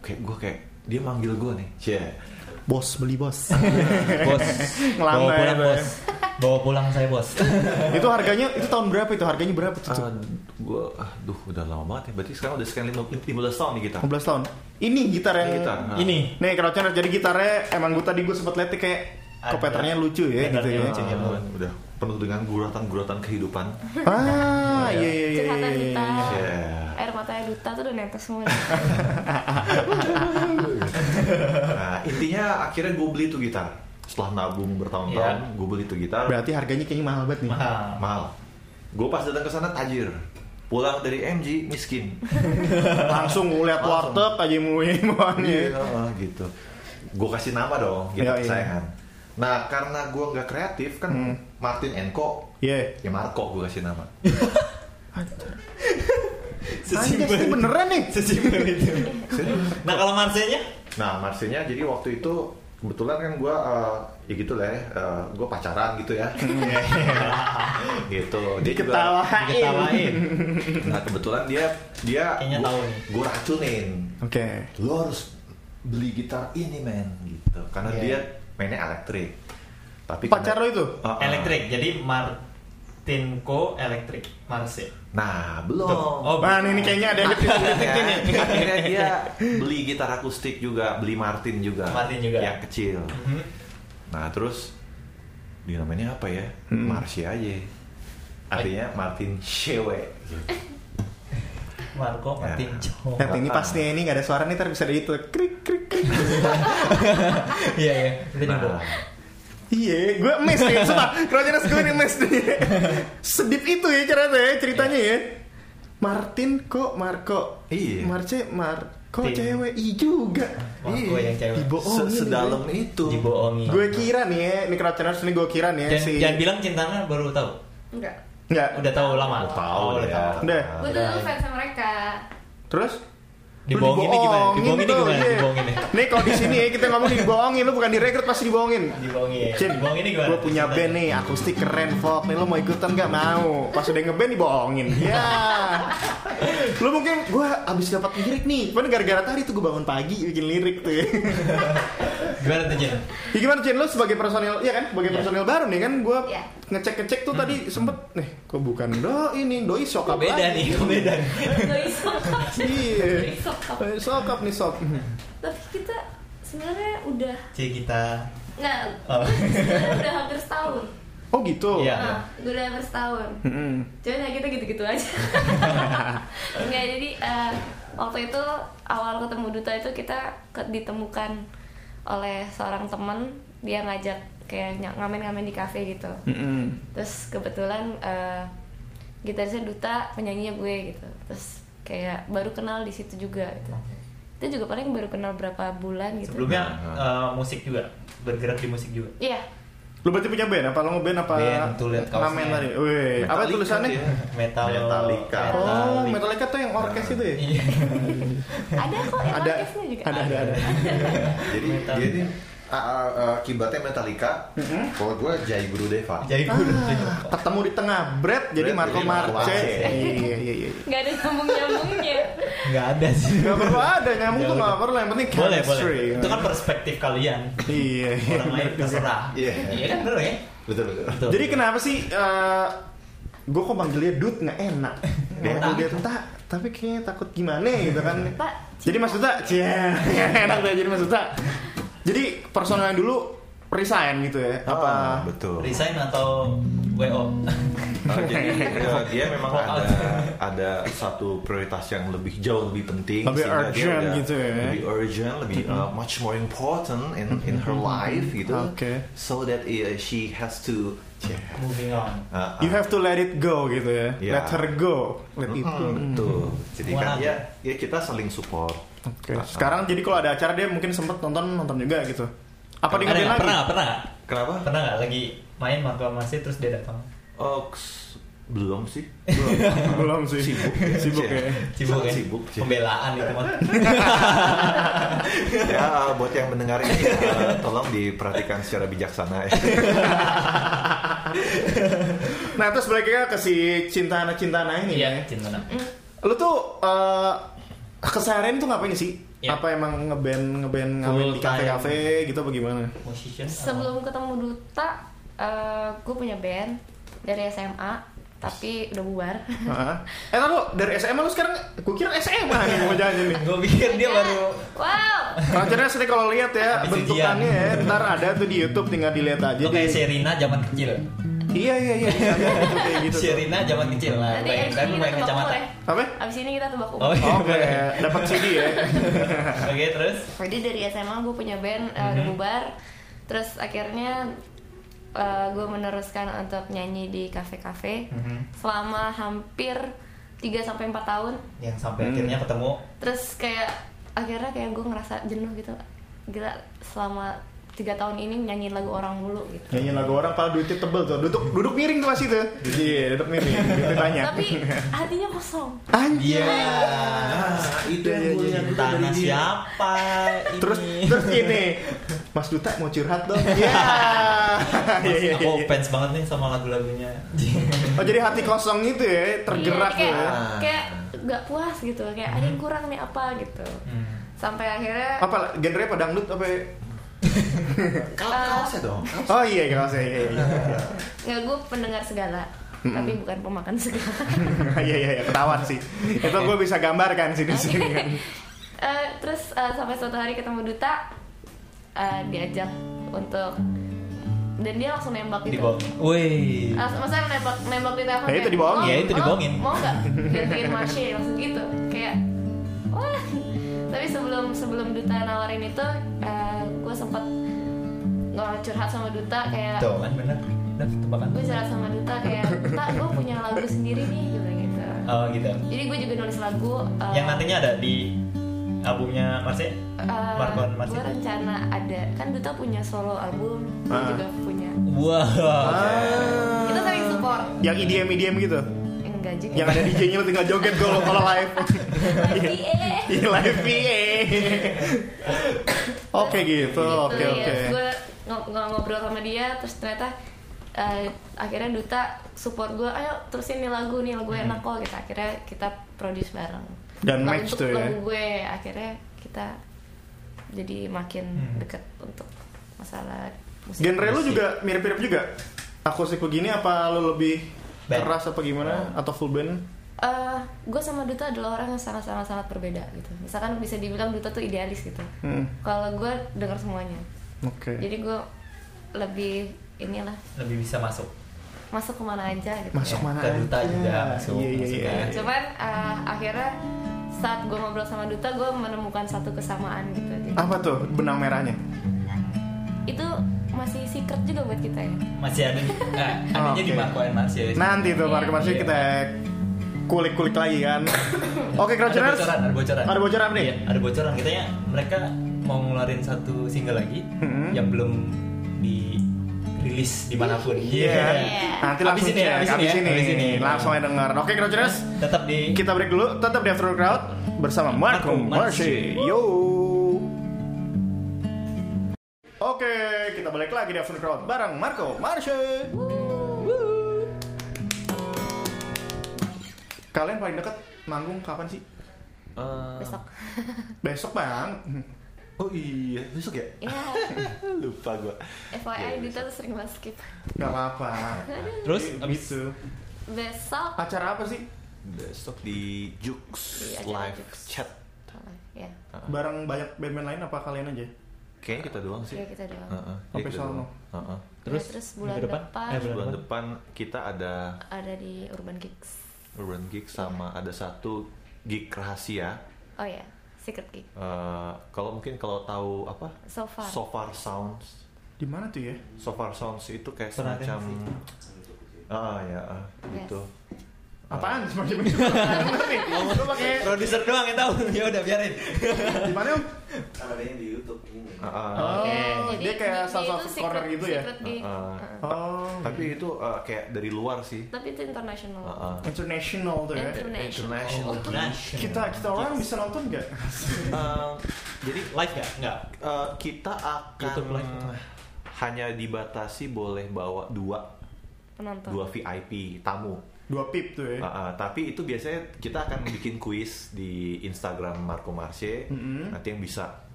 Speaker 2: Kayak gue kayak dia manggil gue nih. Cie.
Speaker 3: Iya. Bos beli bos.
Speaker 4: bos.
Speaker 3: Ngelambai
Speaker 4: Bawa pulang,
Speaker 3: tuh ya.
Speaker 4: bos. Bawa pulang saya, bos.
Speaker 3: itu harganya itu tahun berapa itu? Harganya berapa tuh?
Speaker 2: Ah.
Speaker 3: tuh?
Speaker 2: gue Eh, aduh udah lama banget ya berarti sekarang udah sekian 15 tahun nih kita nah.
Speaker 3: 15 tahun. Ini gitar yang
Speaker 2: Gitar.
Speaker 4: Ini.
Speaker 3: Nih kalau channel jadi gitarnya emang gue tadi gue sempet lihat kayak
Speaker 4: Ada.
Speaker 3: kopeternya lucu ya gitu
Speaker 4: Kopeternya
Speaker 3: ya.
Speaker 4: lucu.
Speaker 2: Ah, udah penuh dengan guratan-guratan kehidupan
Speaker 3: Ah, iya iya iya.
Speaker 1: curhatan
Speaker 3: iya,
Speaker 1: duta
Speaker 3: iya.
Speaker 2: Yeah.
Speaker 1: air matanya duta tuh udah netes semua
Speaker 2: nah intinya akhirnya gue beli tuh gitar setelah nabung bertahun-tahun
Speaker 4: Iya.
Speaker 2: gue beli tuh gitar
Speaker 3: Berarti harganya kayaknya mahal banget nih.
Speaker 4: Mahal.
Speaker 2: mahal gue pas datang ke sana tajir pulang dari MG miskin
Speaker 3: langsung ngeliat
Speaker 2: Langsung.
Speaker 3: warteg aja mulu imannya.
Speaker 2: Iya, ah, gitu. Gue kasih nama dong, gitu
Speaker 3: Iya, Hmm. iya.
Speaker 2: kesayangan. Nah, karena gue nggak kreatif kan Martin Enko,
Speaker 3: Iya.
Speaker 2: ya Marco gue kasih nama.
Speaker 3: Anjay,
Speaker 4: Sesimpel.
Speaker 3: ini beneran nih.
Speaker 4: Sesimpel itu.
Speaker 2: Serius.
Speaker 4: Nah, kalau Marsenya?
Speaker 2: nah, Marsinya jadi waktu itu kebetulan kan gue ya gitu lah ya gue pacaran gitu ya gitu dia juga-
Speaker 3: Diketawain.
Speaker 4: Diketawain.
Speaker 2: nah kebetulan dia dia
Speaker 4: Kayaknya tahu nih.
Speaker 2: gue racunin
Speaker 3: Oke.
Speaker 2: lo harus beli gitar ini men gitu karena
Speaker 4: Iya.
Speaker 2: dia mainnya elektrik tapi
Speaker 3: Pacar lo
Speaker 2: karena-
Speaker 3: itu?
Speaker 2: Ah, ah.
Speaker 4: Elektrik. Jadi Martinko elektrik. Marse.
Speaker 2: nah belum
Speaker 4: Oh,
Speaker 3: Nah, ini kayaknya ada yang
Speaker 4: Iya.
Speaker 3: detik-detikin
Speaker 2: Akhirnya-
Speaker 3: nih.
Speaker 2: Iya. akhirnya dia beli gitar akustik juga beli Martin juga
Speaker 4: Martin juga.
Speaker 2: yang kecil
Speaker 4: Mhm.
Speaker 2: nah terus dia namanya apa ya
Speaker 3: Mm-hmm.
Speaker 2: Marsha aja artinya Martin Shewe gitu.
Speaker 4: Marco
Speaker 2: Ya.
Speaker 4: Martinko.
Speaker 3: Nanti ini pas nih, ini nggak ada suara nih, ntar bisa di itu krik krik krik.
Speaker 4: Iya iya. Martinko.
Speaker 2: nah,
Speaker 3: Iya, gue mes nih, sumpah. Krojenas gue nih mes nih. Sedip itu ya cerita ya, ceritanya ya. Martin kok Marco.
Speaker 2: Iya.
Speaker 3: Marce Marco
Speaker 4: Tin.
Speaker 3: cewek i juga.
Speaker 4: Marco yang cewek.
Speaker 3: Dibohongin
Speaker 2: se-
Speaker 3: nih,
Speaker 2: iya, sedalam
Speaker 3: gue.
Speaker 2: itu Iya.
Speaker 4: Dibohongi.
Speaker 3: Gue kira nih ya, ini Krojenas nih gue kira nih ya,
Speaker 4: Jangan,
Speaker 3: si
Speaker 4: jangan bilang cintanya baru tahu.
Speaker 1: Enggak.
Speaker 3: Enggak.
Speaker 4: Udah tahu lama.
Speaker 2: Udah tahu
Speaker 4: Oh, udah
Speaker 2: ya.
Speaker 4: tahu.
Speaker 3: Ah, Udah.
Speaker 1: Gue tuh dulu fans sama mereka.
Speaker 3: Terus
Speaker 4: Dibohonginnya gimana?
Speaker 3: Dibohongin
Speaker 4: Dibohonginnya
Speaker 3: tuh,
Speaker 4: gimana?
Speaker 3: iya.
Speaker 4: Dibohonginnya.
Speaker 3: Nih kalau di sini ya, kita ngomong dibohongin, lu bukan direkrut pasti dibohongin.
Speaker 4: Iya, Dibohongin.
Speaker 3: Cin,
Speaker 4: Dibohonginnya gimana?
Speaker 3: Gue punya band nih, akustik keren, folk nih. Lu mau ikutan nggak? Mau. Pas udah ngeband dibohongin. Ya. Lu mungkin gue abis dapat lirik nih. Cuman gara-gara tadi tuh gue bangun pagi bikin lirik tuh. Ya,
Speaker 4: Gimana tuh Jin?
Speaker 3: ya gimana Cin? Lu sebagai personil, ya kan? Sebagai
Speaker 4: Iya. Hmm.
Speaker 3: personil baru nih kan? Gue
Speaker 1: Iya.
Speaker 3: ngecek-ngecek tuh tadi sempet nih. Kok bukan doi nih? Doi
Speaker 4: Kok
Speaker 3: sokap lagi.
Speaker 4: beda nih? Kok beda nih?
Speaker 1: Gak bisa.
Speaker 3: Iya.
Speaker 1: Doi sokap.
Speaker 3: Eh, Sokap nih sok.
Speaker 4: Hmm.
Speaker 1: Tapi kita sebenarnya udah
Speaker 4: Cie kita.
Speaker 1: nggak
Speaker 4: Oh.
Speaker 1: sebenarnya udah hampir setahun.
Speaker 3: Oh gitu.
Speaker 4: Iya.
Speaker 1: Nah, udah hampir setahun.
Speaker 3: Mm-mm.
Speaker 1: Cuman ya kita gitu-gitu aja. Enggak jadi eh, waktu itu awal ketemu duta itu kita ke- ditemukan oleh seorang teman dia ngajak kayak ny- ngamen-ngamen di kafe gitu.
Speaker 3: Mm-mm.
Speaker 1: Terus kebetulan eh, gitarisnya duta, penyanyinya gue gitu. Terus kayak baru kenal di situ juga gitu. Itu juga paling baru kenal berapa bulan gitu.
Speaker 4: Sebelumnya eh, musik juga bergerak di musik juga.
Speaker 1: Iya.
Speaker 3: Lu berarti punya band apa? Lu nge-band apa?
Speaker 4: Band, tuh liat kaosnya. ya.
Speaker 3: Ngamen tadi. Wih, Eh, apa
Speaker 2: Metallica
Speaker 3: tulisannya?
Speaker 2: dia.
Speaker 4: Metal
Speaker 2: Metallica.
Speaker 3: Oh, Metallica tuh yang orkes itu ya?
Speaker 4: Iya.
Speaker 1: Ada kok yang
Speaker 3: Ada,
Speaker 1: orkesnya juga.
Speaker 3: ada, ada, ada.
Speaker 2: jadi
Speaker 4: Metallica.
Speaker 2: dia nih ah, ah, ah, kibatnya Metallica
Speaker 3: Mm-hmm.
Speaker 2: kalau gue Jai Guru Deva
Speaker 4: Jadi guru.
Speaker 3: Ah.
Speaker 1: Ah.
Speaker 3: Ketemu di tengah, Brad jadi
Speaker 2: Brad
Speaker 3: Marco
Speaker 2: jadi Marco
Speaker 3: Marce.
Speaker 2: Marce.
Speaker 3: Iya, iya, iya.
Speaker 1: Nggak ada nyambung-nyambungnya.
Speaker 4: Nggak ada sih.
Speaker 3: Gak perlu ada nyamuk tuh gak perlu, yang penting
Speaker 4: Boleh,
Speaker 3: chemistry.
Speaker 4: boleh. Itu kan perspektif kalian.
Speaker 3: Iya, iya.
Speaker 4: Orang lain terserah.
Speaker 2: Iya.
Speaker 4: Iya kan bener ya?
Speaker 2: betul betul
Speaker 4: Betul.
Speaker 3: Jadi kenapa sih gue kok manggil dia dude nggak enak?
Speaker 4: Dia
Speaker 3: Manggil
Speaker 4: tak.
Speaker 3: dia tak, tapi kayaknya takut gimana gitu kan?
Speaker 1: Pak,
Speaker 3: Jadi Mas Duta, cie, ya, enak deh jadi Mas Duta. Jadi personal yang dulu resign gitu ya? Apa?
Speaker 2: Ah, betul
Speaker 4: resign atau WO?
Speaker 2: Nah, jadi eh, dia memang
Speaker 4: Walk out.
Speaker 2: ada ada satu prioritas yang lebih jauh lebih penting
Speaker 3: Lebih
Speaker 2: sehingga dia
Speaker 3: urgent
Speaker 2: udah
Speaker 3: gitu ya.
Speaker 2: lebih urgent lebih uh, much more important in in her life gitu
Speaker 3: Oke.
Speaker 2: so that uh, she has to yeah.
Speaker 4: Moving on.
Speaker 2: Uh, uh,
Speaker 3: You have to let it go gitu ya?
Speaker 2: Ya.
Speaker 3: Let her go, let it go.
Speaker 2: mm, betul jadi
Speaker 4: Semua
Speaker 2: kan
Speaker 4: ada.
Speaker 2: ya ya kita saling support
Speaker 3: Oke.
Speaker 2: Ah,
Speaker 3: Sekarang jadi kalau ada acara dia mungkin sempet nonton nonton juga gitu. Apa di
Speaker 4: Ada
Speaker 3: lagi?
Speaker 4: nggak? Pernah nggak? Pernah nggak?
Speaker 2: kenapa
Speaker 4: Pernah nggak lagi main Marco masih terus dia datang?
Speaker 2: Oh, s- belum sih belum
Speaker 3: Belum sih.
Speaker 2: sibuk
Speaker 3: Sibuk ya.
Speaker 4: Sibuk
Speaker 2: Sangat
Speaker 4: ya?
Speaker 2: sibuk sih.
Speaker 4: Pembelaan itu mah.
Speaker 2: ya uh, buat yang mendengar ini uh, tolong diperhatikan secara bijaksana ya.
Speaker 3: Nah terus balik lagi ke si cintana cintana ini ya.
Speaker 4: Iya, cinta nak.
Speaker 1: Mm.
Speaker 3: Lu tuh eh keseharian tuh ngapain sih?
Speaker 4: Ya.
Speaker 3: Apa emang ngeband ngeband ngamen
Speaker 4: Full
Speaker 3: di kafe-kafe gitu apa gimana?
Speaker 4: Musician. atau-
Speaker 1: sebelum ketemu duta, eh gue punya band dari SMA, tapi udah bubar.
Speaker 3: Heeh. Eh lu dari SMA lu sekarang gue kira SMA nih mau jalan nih.
Speaker 4: Gue pikir dia baru
Speaker 1: Iya. Wow.
Speaker 3: Rancangannya sini kalau lihat ya
Speaker 4: Habis
Speaker 3: bentukannya ya, ntar ada tuh di YouTube tinggal dilihat aja.
Speaker 4: Lu kayak
Speaker 3: deh.
Speaker 4: Sherina zaman kecil.
Speaker 3: Iya iya iya bisa aja gitu, kayak gitu. tuh.
Speaker 4: Sherina zaman kecil lah.
Speaker 1: Nanti
Speaker 4: Bayangin
Speaker 1: abis
Speaker 4: kan
Speaker 1: ini
Speaker 4: lu
Speaker 1: kita
Speaker 4: main
Speaker 1: tebak umur
Speaker 4: kacamata.
Speaker 1: ya.
Speaker 3: Apa?
Speaker 1: Abis ini kita tebak umur.
Speaker 4: Oh iya.
Speaker 3: Oke, dapat CD ya.
Speaker 4: Oke, terus
Speaker 1: Jadi dari SMA gue punya band eh,
Speaker 4: Mhm.
Speaker 1: udah bubar, terus akhirnya eh, gue meneruskan untuk nyanyi di kafe-kafe
Speaker 4: Mhm.
Speaker 1: selama hampir 3 sampai empat tahun.
Speaker 4: yang sampai akhirnya ketemu
Speaker 1: Terus kayak akhirnya kayak gue ngerasa jenuh gitu, gila selama tiga tahun ini nyanyiin lagu orang mulu gitu.
Speaker 4: Iya,
Speaker 3: Nyanyi lagu orang pala duitnya tebel tuh. Duduk duduk miring tuh masih tuh. Iya, duduk miring. Duitnya banyak.
Speaker 1: Tapi hatinya kosong.
Speaker 3: Anjir.
Speaker 4: Iya.
Speaker 2: Ah, itu
Speaker 3: Iya, iya,
Speaker 2: yang gue
Speaker 3: iya.
Speaker 2: lihat
Speaker 4: Tanah siapa ini?
Speaker 3: Terus terus ini Mas Duta mau curhat dong. Yeah. Iya. iya,
Speaker 4: aku
Speaker 3: iya.
Speaker 4: fans banget nih sama lagu-lagunya
Speaker 3: Oh jadi hati kosong itu ya,
Speaker 1: Iya,
Speaker 3: tergerak
Speaker 1: kayak,
Speaker 3: tuh ya.
Speaker 1: kayak nggak puas gitu kayak ada yang kurang nih apa gitu
Speaker 4: Hmm.
Speaker 1: sampai akhirnya
Speaker 3: Apa genre apa dangdut apa? ya?
Speaker 2: Kaos ya dong.
Speaker 3: Oh iya kalau saya iya iya.
Speaker 1: eh, nggak gue pendengar segala
Speaker 3: Hmm.
Speaker 1: tapi bukan pemakan segala
Speaker 3: Iya iya iya ketahuan sih. Itu gue bisa gambarkan sih di sini kan.
Speaker 1: Eh, terus eh, sampai suatu hari ketemu duta eh, diajak untuk dan dia langsung nembak gitu
Speaker 4: dibohong wih
Speaker 1: Langsung- Ah, maksudnya nembak nembak di telepon
Speaker 3: Ya, itu
Speaker 1: kayak,
Speaker 3: dibohongin.
Speaker 1: "Mau-
Speaker 4: Ya, itu
Speaker 1: mau-
Speaker 4: dibohongin."
Speaker 1: mau nggak gantiin Marsha langsung gitu kayak wah tapi sebelum sebelum duta nawarin itu eh, gue sempat nggak curhat sama duta kayak
Speaker 4: tuh kan bener udah tebakan
Speaker 1: gue curhat sama duta kayak duta gue punya lagu sendiri nih gitu gitu
Speaker 4: oh gitu
Speaker 1: jadi gue juga nulis lagu eh,
Speaker 4: yang nantinya ada di albumnya Marse
Speaker 1: eh,
Speaker 4: Markon Marse
Speaker 1: gue rencana ada kan duta punya solo album gue
Speaker 3: Ah.
Speaker 1: juga punya
Speaker 4: wow
Speaker 1: kita saling support
Speaker 3: Yang IDM IDM gitu.
Speaker 1: enggak juga
Speaker 3: Yang ada DJ-nya lu tinggal joget kalau kalau live.
Speaker 1: Iya.
Speaker 3: Iya live PA. Oke gitu.
Speaker 1: Iya,
Speaker 3: Oke oke.
Speaker 1: gue ngobrol sama dia terus ternyata eh, akhirnya duta support gue ayo terusin nih lagu nih lagu enak kok gitu akhirnya kita produce bareng
Speaker 3: Hmm. Dan
Speaker 1: Lagu
Speaker 3: match
Speaker 1: untuk
Speaker 3: tuh ya.
Speaker 1: lagu gue akhirnya kita jadi makin deket untuk masalah musik
Speaker 3: Hmm. Genre
Speaker 4: Iya
Speaker 3: lu juga mirip-mirip juga. Akustik begini apa lu lebih
Speaker 4: Band.
Speaker 3: keras apa gimana atau full band?
Speaker 1: Eh, gue sama Duta adalah orang yang sangat-sangat sangat berbeda gitu. Misalkan bisa dibilang Duta tuh idealis gitu.
Speaker 3: Hmm.
Speaker 1: Kalau gue dengar semuanya,
Speaker 3: Oke.
Speaker 1: jadi gue lebih inilah
Speaker 4: lebih bisa masuk
Speaker 1: masuk kemana aja gitu.
Speaker 3: Masuk mana?
Speaker 4: Ke duta
Speaker 3: aja.
Speaker 4: juga masuk,
Speaker 3: Iya iya
Speaker 4: masuk
Speaker 3: iya.
Speaker 4: ya.
Speaker 1: Cuman eh, akhirnya saat gue ngobrol sama Duta, gue menemukan satu kesamaan gitu. Jadi,
Speaker 3: Apa tuh benang merahnya?
Speaker 1: Itu masih secret juga buat kita ya.
Speaker 4: masih ada nah, adanya di
Speaker 3: Oke.
Speaker 4: Markon Marse
Speaker 3: Nanti tuh Mark
Speaker 1: Iya.
Speaker 3: Marsi kita kulik-kulik lagi kan. Oke,
Speaker 4: ada
Speaker 3: Crouchers.
Speaker 4: bocoran ada bocoran
Speaker 3: Ada bocoran nih.
Speaker 4: Iya, ada bocoran katanya mereka mau ngeluarin satu single lagi
Speaker 3: Hmm.
Speaker 4: yang belum dirilis dimanapun
Speaker 3: Iya.
Speaker 4: Iya.
Speaker 3: Nanti
Speaker 4: Abis
Speaker 3: langsung
Speaker 4: ini ya, abis
Speaker 3: cek,
Speaker 4: ini
Speaker 3: abis
Speaker 4: ya,
Speaker 3: ini,
Speaker 4: abis ini.
Speaker 3: langsung aja denger. Oke, Crouchers.
Speaker 4: tetap di
Speaker 3: Kita break dulu, tetap di After Crowd bersama Marco
Speaker 4: Marco
Speaker 3: Marsi.
Speaker 4: Marci.
Speaker 3: Yo. Oke, kita balik lagi di After Crowd bareng Marco Marsi. Kalian paling dekat manggung kapan sih?
Speaker 1: Besok.
Speaker 3: Besok, Bang.
Speaker 2: Oh iya, besok ya?
Speaker 1: Ya,
Speaker 2: Lupa gua.
Speaker 1: FYI Duta tuh sering banget skip.
Speaker 3: Gak apa-apa.
Speaker 4: terus
Speaker 3: Gitu.
Speaker 4: abis
Speaker 1: Besok.
Speaker 3: Acara apa sih?
Speaker 2: Besok di Jux
Speaker 1: Iya, acara
Speaker 2: live
Speaker 1: Jux.
Speaker 2: chat.
Speaker 1: Ya,
Speaker 3: Bareng banyak band-band lain apa kalian aja?
Speaker 2: Kayaknya kita doang sih.
Speaker 1: ya kita doang.
Speaker 2: Heeh,
Speaker 3: Sampai
Speaker 2: kita
Speaker 3: sono.
Speaker 2: doang. Heeh.
Speaker 4: terus
Speaker 1: Ya, terus bulan
Speaker 4: minggu
Speaker 1: depan.
Speaker 4: eh, bulan
Speaker 2: Bulan
Speaker 4: depan
Speaker 2: depan kita ada
Speaker 1: Ada di Urban Kicks.
Speaker 2: Urban Gig sama ada satu gig rahasia.
Speaker 1: Oh ya, Secret Kick.
Speaker 2: Eh, kalau mungkin kalau tahu apa?
Speaker 1: So far.
Speaker 2: So far sounds.
Speaker 3: Di mana tuh ya?
Speaker 2: So far sounds itu kayak
Speaker 4: Pernah
Speaker 2: semacam ah ya ah,
Speaker 1: Yes.
Speaker 2: gitu.
Speaker 3: Apaan? Semacam itu. Bener nih. Lu pakai
Speaker 4: produser doang yang tahu ya udah biarin
Speaker 3: di mana? Om?
Speaker 5: adanya di YouTube ini.
Speaker 2: Ah, ah.
Speaker 3: Oh, dia kayak
Speaker 1: di-
Speaker 3: salah
Speaker 1: Eh, dia
Speaker 3: satu
Speaker 1: itu
Speaker 3: corner
Speaker 1: secret-
Speaker 3: gitu ya?
Speaker 1: secret gig.
Speaker 2: Heeh.
Speaker 1: Heeh.
Speaker 3: Oh,
Speaker 2: Tapi itu eh, kayak dari luar sih.
Speaker 1: Tapi itu international.
Speaker 2: Heeh.
Speaker 3: international tuh ya.
Speaker 1: International.
Speaker 2: Eh, International.
Speaker 4: nah
Speaker 3: Kita kita orang bisa nonton nggak?
Speaker 2: Eh, jadi
Speaker 4: live nggak nggak
Speaker 2: eh, kita akan
Speaker 4: YouTube live.
Speaker 2: hanya dibatasi boleh bawa dua
Speaker 1: Penonton.
Speaker 2: dua VIP tamu.
Speaker 3: Dua pip tuh ya.
Speaker 2: Ah, ah. tapi itu biasanya kita akan bikin kuis di Instagram Marco Marce.
Speaker 4: Mm-hmm.
Speaker 3: Mm-mm.
Speaker 2: Nanti yang bisa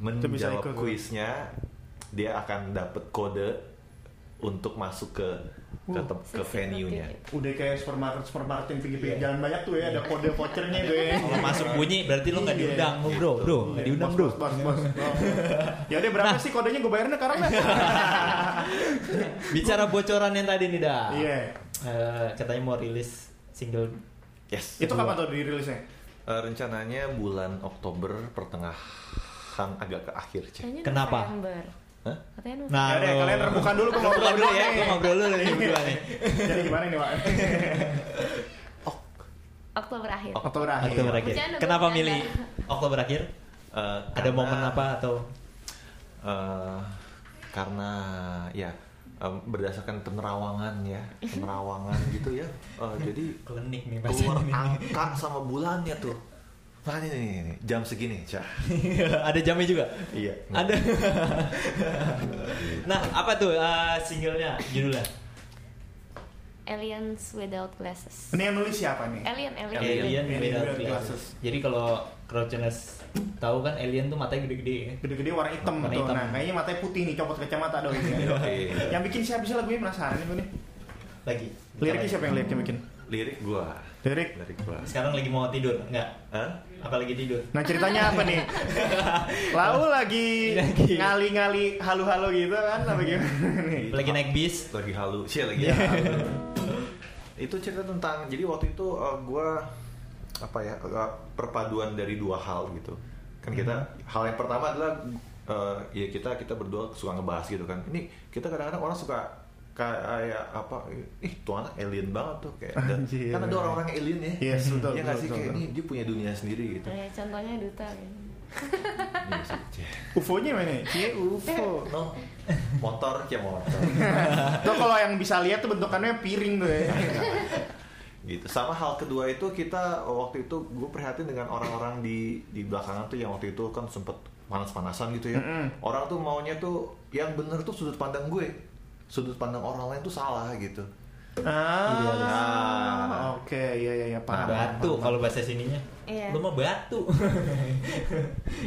Speaker 3: Itu bisa
Speaker 2: menjawab
Speaker 3: ikut, tuh.
Speaker 2: kuisnya dia akan dapat kode untuk masuk ke ke, tem- ke
Speaker 1: Secret
Speaker 2: venue-nya.
Speaker 1: gig.
Speaker 3: Udah kayak supermarket supermarket yang pinggir-pinggir jalan banyak tuh ya. Ada kode vouchernya tuh ya.
Speaker 4: kalau masuk bunyi berarti lu nggak
Speaker 3: Iya.
Speaker 4: diundang bro bro nggak diundang
Speaker 3: Bos,
Speaker 4: bro
Speaker 3: Bos, bos, bos. Ya udah berapa sih kodenya gue bayarin sekarang dah.
Speaker 4: bicara bocoran yang tadi nih dah
Speaker 3: Iya.
Speaker 4: Eh, katanya mau rilis single
Speaker 2: Yes.
Speaker 3: Itu kapan tuh dirilisnya?
Speaker 2: Eh, rencananya bulan Oktober pertengahan agak ke akhir, Cek.
Speaker 1: Kayaknya
Speaker 4: Kenapa?
Speaker 1: November.
Speaker 2: Hah?
Speaker 1: Katanya November.
Speaker 4: nah
Speaker 3: Ya udah
Speaker 4: lu-
Speaker 3: kalian rebukan dulu gue
Speaker 4: Lu
Speaker 3: ngobrol
Speaker 4: ngobrol dulu ya lu
Speaker 3: nih.
Speaker 4: ngobrol dulu nih berdua nih
Speaker 3: Jadi gimana nih, Pak?
Speaker 1: Oktober akhir.
Speaker 3: Oktober akhir.
Speaker 4: Oktober akhir
Speaker 1: Bercanda,
Speaker 4: kenapa
Speaker 1: bercanda.
Speaker 4: milih Oktober akhir
Speaker 2: Eh,
Speaker 4: ada
Speaker 2: karena-
Speaker 4: momen apa atau
Speaker 2: eh karena ya em, berdasarkan penerawangan ya, penerawangan gitu ya. Eh, jadi
Speaker 4: klinik nih
Speaker 2: keluar angka sama bulannya tuh. Nah ini, ini, ini, jam segini, cah.
Speaker 4: ada jamnya juga
Speaker 2: Iya.
Speaker 4: ada nah apa tuh eh, singlenya judulnya
Speaker 1: Aliens Without Glasses.
Speaker 3: Ini yang nulis siapa nih?
Speaker 1: Alien, alien.
Speaker 4: Alien,
Speaker 3: Alien
Speaker 4: without
Speaker 3: without glasses.
Speaker 4: glasses. Jadi kalau Crouchness tahu kan alien tuh matanya gede-gede ya.
Speaker 3: Gede-gede warna hitam
Speaker 4: Warna
Speaker 3: tuh.
Speaker 4: hitam.
Speaker 3: Nah, kayaknya matanya putih nih, copot kacamata dong ini.
Speaker 2: Iya.
Speaker 3: yang bikin siapa sih lagunya penasaran nih gue nih.
Speaker 4: Lagi.
Speaker 3: Liriknya siapa yang liriknya bikin?
Speaker 2: Lirik gua.
Speaker 3: Lirik.
Speaker 2: Lirik gua.
Speaker 4: Sekarang lagi mau tidur, enggak?
Speaker 2: Hah?
Speaker 4: Apalagi tidur.
Speaker 3: Nah, ceritanya apa nih? Lalu lagi
Speaker 4: Iya, Lagi. Iya.
Speaker 3: ngali-ngali halu-halu gitu kan apa gimana nih?
Speaker 4: Lagi naik bis.
Speaker 2: lagi halu sih lagi
Speaker 4: Iya.
Speaker 2: halu. itu cerita tentang jadi waktu itu gue apa ya eh, perpaduan dari dua hal gitu kan kita
Speaker 3: Mm-hmm.
Speaker 2: hal yang pertama adalah eh, ya kita kita berdua suka ngebahas gitu kan ini kita kadang-kadang orang suka kayak apa ih tuh anak alien banget tuh kayak ada,
Speaker 3: Anjir.
Speaker 2: kan ada orang-orang alien ya
Speaker 3: Yes, betul,
Speaker 2: ya nggak
Speaker 3: betul,
Speaker 2: sih
Speaker 3: betul,
Speaker 2: kayak
Speaker 3: betul.
Speaker 2: ini dia punya dunia sendiri gitu
Speaker 1: Eh, contohnya duta. ya.
Speaker 2: Iya sih, Cie.
Speaker 3: UFO-nya mana? Iya, UFO.
Speaker 2: no motor kayak motor
Speaker 3: Tuh kalau yang bisa lihat tuh bentukannya piring tuh
Speaker 4: Iya,
Speaker 3: ya.
Speaker 2: gitu sama hal kedua itu kita oh, waktu itu gue prihatin dengan orang-orang di di belakangan tuh yang waktu itu kan sempet panas-panasan gitu ya
Speaker 3: Mm-mm.
Speaker 2: orang tuh maunya tuh yang bener tuh sudut pandang gue sudut pandang orang lain tuh salah gitu
Speaker 3: Ah, oke, iya iya iya paham.
Speaker 4: Batu kalau bahasa sininya.
Speaker 1: Iya.
Speaker 4: Lu mah batu.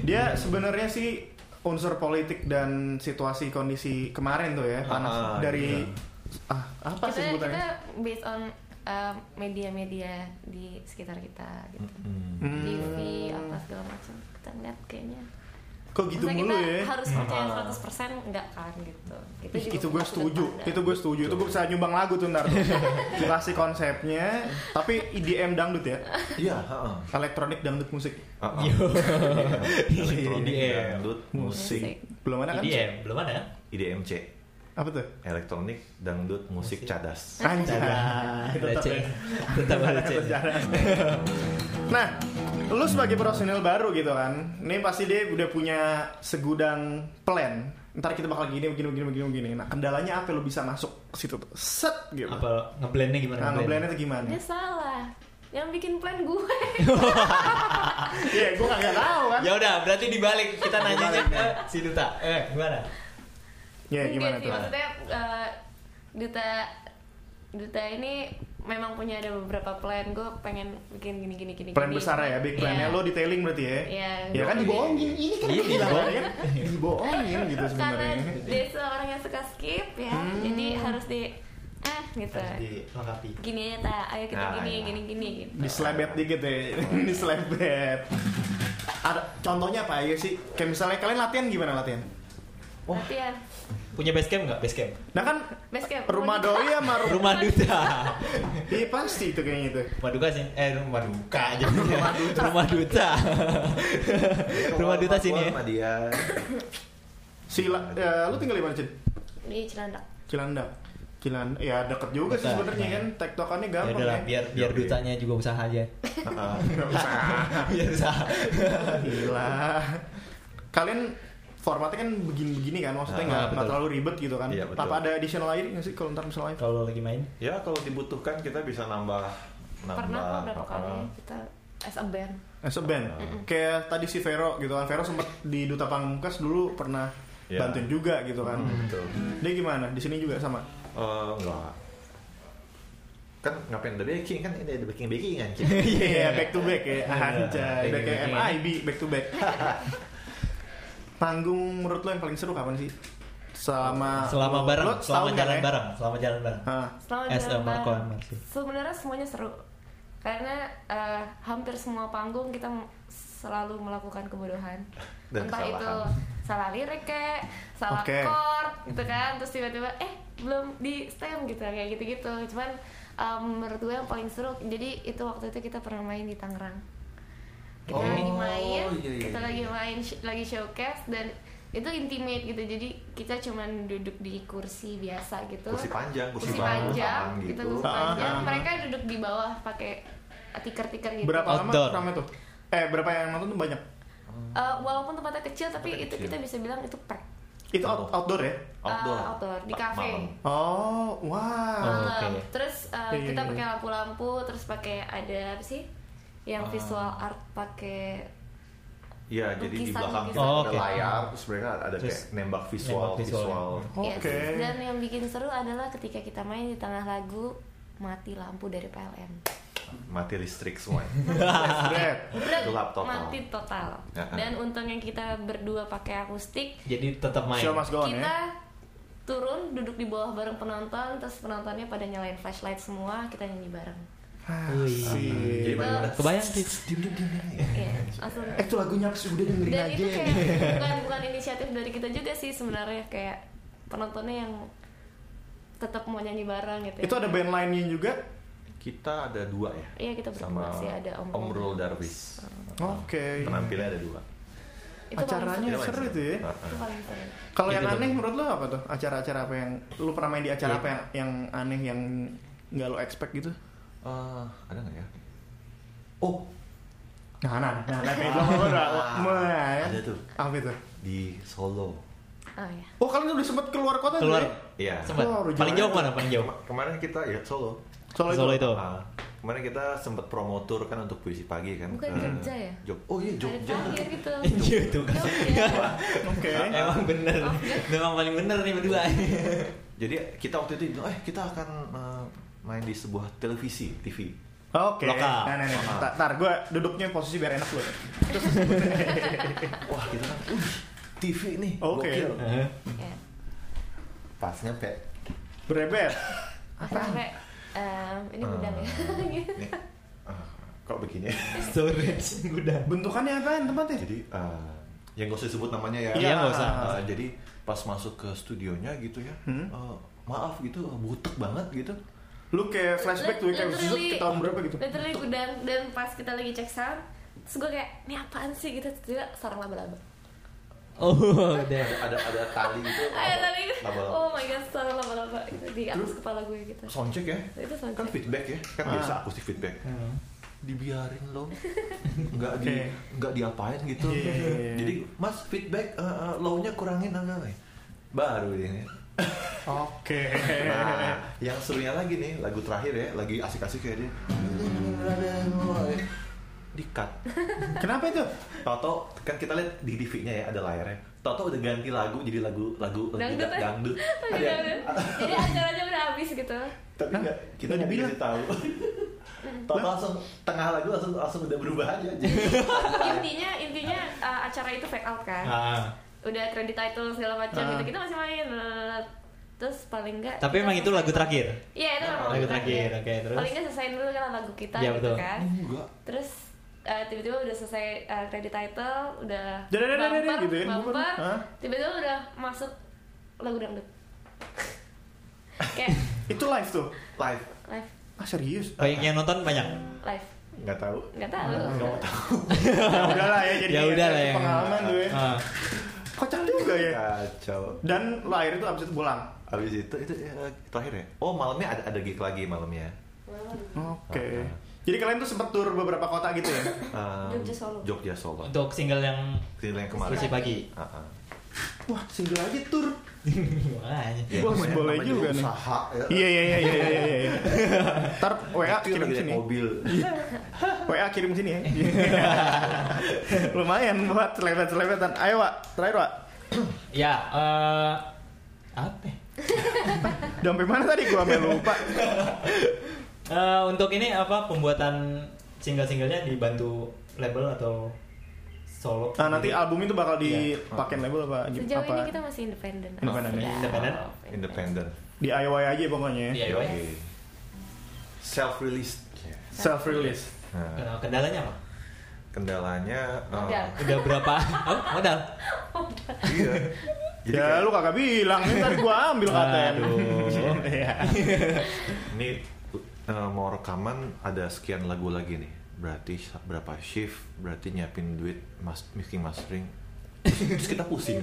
Speaker 3: Dia sebenarnya sih unsur politik dan situasi kondisi kemarin tuh ya panas
Speaker 2: Ah,
Speaker 3: dari
Speaker 2: iya.
Speaker 3: ah apa sih
Speaker 1: Kita, kita
Speaker 3: sebutannya?
Speaker 1: based on um, media-media di sekitar kita gitu.
Speaker 2: Mm.
Speaker 3: Hmm.
Speaker 1: TV apa segala macam. Kita ngeliat kayaknya.
Speaker 3: Kok gitu
Speaker 1: Masa
Speaker 3: mulu
Speaker 1: kita
Speaker 3: ya?
Speaker 1: harus percaya
Speaker 4: Ah.
Speaker 1: 100% enggak kan gitu. Kita
Speaker 3: Ih,
Speaker 1: juga
Speaker 3: itu gue
Speaker 1: punya sudut
Speaker 3: setuju,
Speaker 1: pandang.
Speaker 3: itu gue setuju, itu gue bisa nyumbang lagu tuh ntar tuh. Gua Kasih konsepnya, tapi EDM dangdut ya,
Speaker 2: iya heeh.
Speaker 3: elektronik dangdut musik.
Speaker 2: Heeh.
Speaker 4: Yo.
Speaker 2: Elektronik,
Speaker 4: IDM.
Speaker 2: dangdut musik
Speaker 1: Musik.
Speaker 3: Belum ada kan?
Speaker 2: E
Speaker 4: IDM belum ada.
Speaker 2: IDMC
Speaker 3: Apa tuh?
Speaker 2: elektronik dangdut musik
Speaker 4: Musik.
Speaker 2: cadas
Speaker 3: Anjay.
Speaker 4: Ada
Speaker 3: Tetep
Speaker 4: C.
Speaker 3: ya.
Speaker 4: Tetap ada C.
Speaker 3: Nah, lu sebagai profesional baru gitu kan, ini pasti dia udah punya segudang plan. Ntar kita bakal gini, begini, begini, begini, begini. Nah, kendalanya apa lu bisa masuk ke situ tuh? Set gitu.
Speaker 4: Apa ngeblendnya gimana?
Speaker 3: Nah, ngeblendnya tuh gimana?
Speaker 1: Dia salah. Yang bikin plan gue.
Speaker 3: Iya, gue gak tahu kan.
Speaker 4: Ya udah, berarti dibalik kita nanyanya ke si Duta. Eh, gimana?
Speaker 3: Ya,
Speaker 1: Enggak
Speaker 3: gimana
Speaker 1: sih,
Speaker 3: tuh?
Speaker 1: Maksudnya eh, duta duta ini memang punya ada beberapa plan. Gue pengen bikin gini gini gini.
Speaker 3: Plan
Speaker 1: gini.
Speaker 3: besar ya, big
Speaker 1: Iya.
Speaker 3: plan-nya lo detailing berarti ya.
Speaker 1: Iya.
Speaker 3: Ya kan dibohongin, ini kan
Speaker 4: Iya,
Speaker 3: kehilangan dibohongin gitu
Speaker 1: Karena
Speaker 3: sebenarnya. Hmm.
Speaker 1: dia seorang yang suka skip ya, jadi harus di ah gitu.
Speaker 4: Dilengkapi.
Speaker 1: Gini aja ta, ayo kita
Speaker 2: Nah,
Speaker 1: gini,
Speaker 2: iya.
Speaker 1: gini gini gitu.
Speaker 3: Diselebet dikit ya, diselebet. Ada contohnya apa aja sih? Kayak misalnya kalian latihan gimana latihan?
Speaker 1: Latihan.
Speaker 4: Punya basecamp nggak? Basecamp.
Speaker 3: Nah kan
Speaker 1: Basecamp.
Speaker 3: rumah doi sama rumah
Speaker 4: Rumah Duta.
Speaker 3: Iya pasti itu kayaknya itu.
Speaker 4: Rumah Duka sih. Eh, rumah Duka aja. rumah Duta. rumah Duta sini ya.
Speaker 2: Sama dia
Speaker 3: Sila, eh, lu tinggal di mana Cid?
Speaker 1: Di Cilandak.
Speaker 3: Cilandak. Cilandak, ya deket juga sih
Speaker 4: Dekat,
Speaker 3: sebenarnya
Speaker 4: ya.
Speaker 3: kan. Tektokannya
Speaker 4: Ya
Speaker 3: gampang kan?
Speaker 4: udahlah, biar biar
Speaker 2: Oke.
Speaker 4: dutanya juga usaha aja.
Speaker 2: Heeh.
Speaker 3: Nggak usah.
Speaker 4: biar usaha.
Speaker 3: Gila. Kalian formatnya kan begini-begini kan, maksudnya
Speaker 2: Nah,
Speaker 3: nggak
Speaker 4: Ah, betul.
Speaker 3: nggak terlalu ribet gitu kan.
Speaker 2: Iya, betul.
Speaker 3: Apa ada additional lighting nggak sih kalau ntar misalnya live?
Speaker 4: Kalau lagi main.
Speaker 2: ya kalau dibutuhkan kita bisa nambah nambah
Speaker 1: Pernah kok berapa
Speaker 2: heeh.
Speaker 1: kali kita as a band.
Speaker 3: As a band. Kayak tadi si Vero gitu kan. Vero sempet di Duta Pamungkas dulu pernah
Speaker 2: Iya.
Speaker 3: bantuin juga gitu kan.
Speaker 2: betul
Speaker 3: Dia gimana? Di sini juga sama.
Speaker 2: Eh, enggak kan ngapain the baking kan ini ada baking bakingan gitu
Speaker 3: Iya, back to back ya. Anjay,
Speaker 4: Iya,
Speaker 3: udah kayak
Speaker 4: iya.
Speaker 3: MIB back to back. Panggung menurut lo yang paling seru kapan sih? Selama
Speaker 4: Selama
Speaker 3: lo-
Speaker 4: bareng,
Speaker 3: lo
Speaker 4: selama
Speaker 3: setahun kan
Speaker 4: jalan
Speaker 3: ya? Ah.
Speaker 4: bareng, selama jalan bareng.
Speaker 3: Hah.
Speaker 1: Selama
Speaker 4: As
Speaker 1: jalan
Speaker 4: a Marco
Speaker 1: bareng,
Speaker 4: Amar sih.
Speaker 1: Sebenarnya semuanya seru. Karena eh, hampir semua panggung kita m- selalu melakukan kebodohan.
Speaker 2: Dan
Speaker 1: Entah itu
Speaker 2: kesalahan.
Speaker 1: salah lirik kayak salah
Speaker 3: Oke.
Speaker 1: chord gitu kan, terus tiba-tiba eh belum di stem gitu kayak gitu-gitu. Cuman em, menurut gue yang paling seru jadi itu waktu itu kita pernah main di Tangerang. Kita
Speaker 2: Oh,
Speaker 1: lagi main,
Speaker 2: iya, iya,
Speaker 1: kita
Speaker 2: iya.
Speaker 1: lagi main sh- lagi showcase dan itu intimate gitu jadi kita cuman duduk di kursi biasa gitu
Speaker 2: Kursi panjang, kursi
Speaker 1: kursi
Speaker 2: bawah,
Speaker 1: panjang
Speaker 2: tangan
Speaker 1: kita
Speaker 2: gitu.
Speaker 1: kursi
Speaker 3: Ah,
Speaker 1: panjang
Speaker 3: ah, ah.
Speaker 1: mereka duduk di bawah pakai tiker-tiker gitu
Speaker 3: Berapa
Speaker 4: Outdoor.
Speaker 3: lama ramai tuh? Eh, berapa yang nonton tuh banyak?
Speaker 1: Eh, walaupun tempatnya kecil tapi
Speaker 2: Tempatnya
Speaker 1: itu
Speaker 2: kecil.
Speaker 1: kita bisa bilang itu pack
Speaker 3: Itu out- outdoor ya?
Speaker 2: outdoor
Speaker 1: Ah, outdoor, di
Speaker 2: Ma-
Speaker 1: cafe.
Speaker 2: malam.
Speaker 3: Oh, wow.
Speaker 4: Oh.
Speaker 1: malam
Speaker 4: oke.
Speaker 1: terus eh,
Speaker 3: Iya, iya,
Speaker 1: kita
Speaker 3: iya.
Speaker 1: pakai lampu-lampu terus pakai ada apa sih yang
Speaker 2: Ah.
Speaker 1: visual art pakai
Speaker 2: Iya, jadi di
Speaker 1: Lukisan,
Speaker 2: belakang
Speaker 1: lukisan.
Speaker 2: ada
Speaker 4: Oh, oke.
Speaker 2: layar, terus mereka ada
Speaker 4: Terus
Speaker 2: kayak nembak visual,
Speaker 4: nembak visual.
Speaker 2: visual.
Speaker 1: ya,
Speaker 3: Oke.
Speaker 1: dan yang bikin seru adalah ketika kita main di tengah lagu mati lampu dari PLN
Speaker 2: mati listrik semua.
Speaker 3: Jebret.
Speaker 1: Udah,
Speaker 2: Gelap total.
Speaker 1: mati total
Speaker 2: Ya.
Speaker 1: dan untungnya kita berdua pakai akustik
Speaker 4: Jadi tetap main.
Speaker 3: Show must go on
Speaker 1: kita
Speaker 3: ya.
Speaker 1: turun duduk di bawah bareng penonton terus penontonnya pada nyalain flashlight semua kita nyanyi bareng
Speaker 3: Ah, Asik.
Speaker 2: Jadi
Speaker 1: Terus-
Speaker 4: Kebayang sih.
Speaker 2: diem diem diem diem.
Speaker 1: Iya, langsung
Speaker 3: Eh itu lagunya apa sih? Udah dengerin
Speaker 1: dan
Speaker 3: aja.
Speaker 1: itu kayak bukan bukan inisiatif dari kita juga sih sebenarnya kayak penontonnya yang tetap mau nyanyi bareng gitu ya.
Speaker 3: Itu ada band lainnya juga.
Speaker 2: Kita ada dua ya.
Speaker 1: Iya, kita berdua
Speaker 2: sama
Speaker 1: sih, ada Om
Speaker 2: Om
Speaker 1: Rul.
Speaker 2: Rul Darwis.
Speaker 3: Oke.
Speaker 2: Penampilannya ada dua.
Speaker 1: itu paling
Speaker 3: acaranya
Speaker 1: seru.
Speaker 3: seru itu ya.
Speaker 1: itu paling seru
Speaker 3: Kalau yang
Speaker 4: Gitu
Speaker 3: aneh
Speaker 4: dong.
Speaker 3: menurut lo apa tuh? Acara-acara apa yang lu pernah main di acara apa yang, yang aneh yang nggak lo expect gitu?
Speaker 2: Eh, ada nggak ya? Oh,
Speaker 3: Nah, nah, nah, nah, kayak belum udah, Wah, ya.
Speaker 2: Ada tuh.
Speaker 3: Apa itu?
Speaker 2: di Solo.
Speaker 1: oh ya
Speaker 3: Oh, kalian udah sempet keluar kota
Speaker 4: Keluar.
Speaker 3: tuh ya?
Speaker 2: Iya.
Speaker 4: Sempat.
Speaker 3: Keluar,
Speaker 4: Paling
Speaker 3: jauh.
Speaker 4: jauh mana? Paling jauh.
Speaker 2: Kema- Kemarin kita ya Solo.
Speaker 3: Soal itu.
Speaker 4: Solo itu.
Speaker 2: Ah, kemarin kita sempat promotor kan untuk puisi pagi kan.
Speaker 1: Bukan
Speaker 2: ke-
Speaker 1: Jogja ya?
Speaker 2: Jog- oh iya
Speaker 1: dari
Speaker 2: Jogja.
Speaker 1: terakhir gitu
Speaker 4: Gitu kan.
Speaker 1: Jogja.
Speaker 3: Oke.
Speaker 4: Emang bener.
Speaker 3: Oh, iya.
Speaker 4: Memang paling bener nih berdua.
Speaker 2: Jadi kita waktu itu bilang, eh kita akan eh, main di sebuah televisi TV.
Speaker 3: Oke.
Speaker 4: Lokal.
Speaker 3: Nah, nah, nah. Tar, tar gue duduknya posisi biar enak lu.
Speaker 2: Wah kita kan, "Wih, TV nih.
Speaker 3: Oke.
Speaker 2: gokil."
Speaker 4: Heeh.
Speaker 1: Ya.
Speaker 2: Pas nyampe,
Speaker 3: Berebet.
Speaker 1: Pas nyampe, em, ini
Speaker 2: Ah.
Speaker 1: gudang ya
Speaker 2: nih, ah, kok begini?
Speaker 4: Storage gudang.
Speaker 3: Bentukannya apaan tempatnya?
Speaker 2: Jadi eh, yang gak usah disebut namanya ya.
Speaker 4: Iya, nggak usah. Hmm?
Speaker 2: Eh, jadi pas masuk ke studionya gitu ya, eh, maaf gitu butek banget gitu.
Speaker 3: Lu kayak flashback tuh kayak zut
Speaker 1: Literally-
Speaker 3: ke tahun berapa gitu.
Speaker 1: literally gudang dan pas kita lagi cek sound terus gue kayak ini apaan sih gitu tiba seorang laba-laba
Speaker 4: Oh, udah.
Speaker 2: Ada ada tali gitu.
Speaker 1: Ayo tadi
Speaker 2: laba-laba.
Speaker 1: oh my god seorang laba-laba gitu di atas kepala gue gitu
Speaker 2: soundcheck ya
Speaker 1: Itu soundcheck.
Speaker 2: kan feedback ya kan
Speaker 3: Ah. Hmm.
Speaker 2: biasa akustik feedback dibiarin lo nggak di
Speaker 3: Oke.
Speaker 2: nggak diapain gitu
Speaker 3: Iya, iya, iya.
Speaker 2: jadi mas feedback uh, uh, low-nya kurangin agak nih baru ini
Speaker 3: Oke.
Speaker 2: nah yang serunya lagi nih lagu terakhir ya lagi asik-asik kayak dia dikat
Speaker 3: Kenapa itu?
Speaker 2: Toto kan kita lihat di TV-nya ya ada layarnya Toto udah ganti lagu jadi lagu lagu lagu
Speaker 1: Dangdut ya?
Speaker 2: dangdut
Speaker 1: Jadi
Speaker 2: Ada-
Speaker 1: jadi acaranya udah habis gitu
Speaker 2: tapi nggak kita
Speaker 3: Nggak
Speaker 2: nggak
Speaker 3: bilang.
Speaker 2: dikasih tahu Tau langsung tengah lagu langsung langsung udah berubah aja jadi
Speaker 1: intinya intinya uh, acara itu fake out kan
Speaker 4: Ah.
Speaker 1: udah credit title segala macam
Speaker 3: Ah.
Speaker 1: gitu kita masih main lalalala. terus paling enggak
Speaker 4: Tapi emang itu lagu terakhir.
Speaker 1: iya itu lagu,
Speaker 4: Lagu terakhir, oke, terus?
Speaker 1: paling enggak selesaiin dulu kan lagu kita
Speaker 4: Iya,
Speaker 1: gitu
Speaker 4: betul.
Speaker 1: kan
Speaker 2: enggak
Speaker 1: terus uh, tiba-tiba udah selesai uh, credit title udah
Speaker 3: Dadadadadada
Speaker 1: bumper
Speaker 3: gitu ya,
Speaker 1: bumper
Speaker 3: Hah?
Speaker 1: tiba-tiba udah masuk lagu dangdut kayak
Speaker 3: Itu live tuh.
Speaker 2: live
Speaker 1: live
Speaker 3: Ah serius?
Speaker 4: Oh, yang, yang nonton banyak.
Speaker 1: live
Speaker 2: nggak tahu
Speaker 1: nggak tahu
Speaker 3: Ah, Ya udahlah ya jadi
Speaker 4: Ya udah lah yang
Speaker 3: pengalaman tuh ya.
Speaker 4: Ah.
Speaker 3: Kocak juga ya.
Speaker 2: kacau
Speaker 3: Dan lo akhirnya tuh abis itu pulang.
Speaker 2: abis itu itu ya, terakhir ya oh malamnya ada ada gig lagi malamnya Ah.
Speaker 3: Oke. Jadi kalian tuh sempet tur beberapa kota gitu ya?
Speaker 2: Ehm,
Speaker 1: Jogja Solo.
Speaker 2: Jogja Solo
Speaker 4: Untuk single yang
Speaker 2: Single yang kemarin
Speaker 4: Kursi pagi.
Speaker 2: Ah, ah.
Speaker 3: Wah single aja tur.
Speaker 4: Makanya.
Speaker 2: Ya,
Speaker 3: Bos,
Speaker 2: namanya-
Speaker 3: boleh
Speaker 2: namanya
Speaker 3: juga nih.
Speaker 2: usaha, ya.
Speaker 3: Iya iya iya iya iya. iya. Ntar WA
Speaker 2: Nyetir
Speaker 3: kirim
Speaker 2: lagi naik
Speaker 3: sini.
Speaker 2: mobil
Speaker 3: WA kirim sini ya. Lumayan buat selebet-selebetan. Ayo Wak, terakhir Wak.
Speaker 4: Ya, eh apa? ya?
Speaker 3: Udah sampai mana tadi gua sampai lupa.
Speaker 4: Eh, untuk ini apa pembuatan single-singlenya dibantu label atau solo?
Speaker 3: Nah, nanti album itu bakal
Speaker 4: Iya.
Speaker 3: dipakein label apa?
Speaker 1: sejauh
Speaker 3: apa?
Speaker 1: ini kita masih Iya. independen
Speaker 3: Independen ya?
Speaker 4: Independen?
Speaker 2: independen
Speaker 3: DIY aja pokoknya
Speaker 1: Iya.
Speaker 3: ya.
Speaker 4: DIY.
Speaker 2: self release
Speaker 3: Self release.
Speaker 4: Nah, kendalanya apa?
Speaker 2: kendalanya eh,
Speaker 1: Modal.
Speaker 4: Udah berapa? Oh, modal.
Speaker 2: iya Jadi
Speaker 3: ya
Speaker 2: kayak-
Speaker 3: lu kagak bilang, ini tadi gua ambil katanya.
Speaker 4: Aduh.
Speaker 3: Iya.
Speaker 2: Ini uh, mau rekaman ada sekian lagu lagi nih. Berarti sa- berapa shift? Berarti nyiapin duit mas mixing mastering. Terus kita pusing.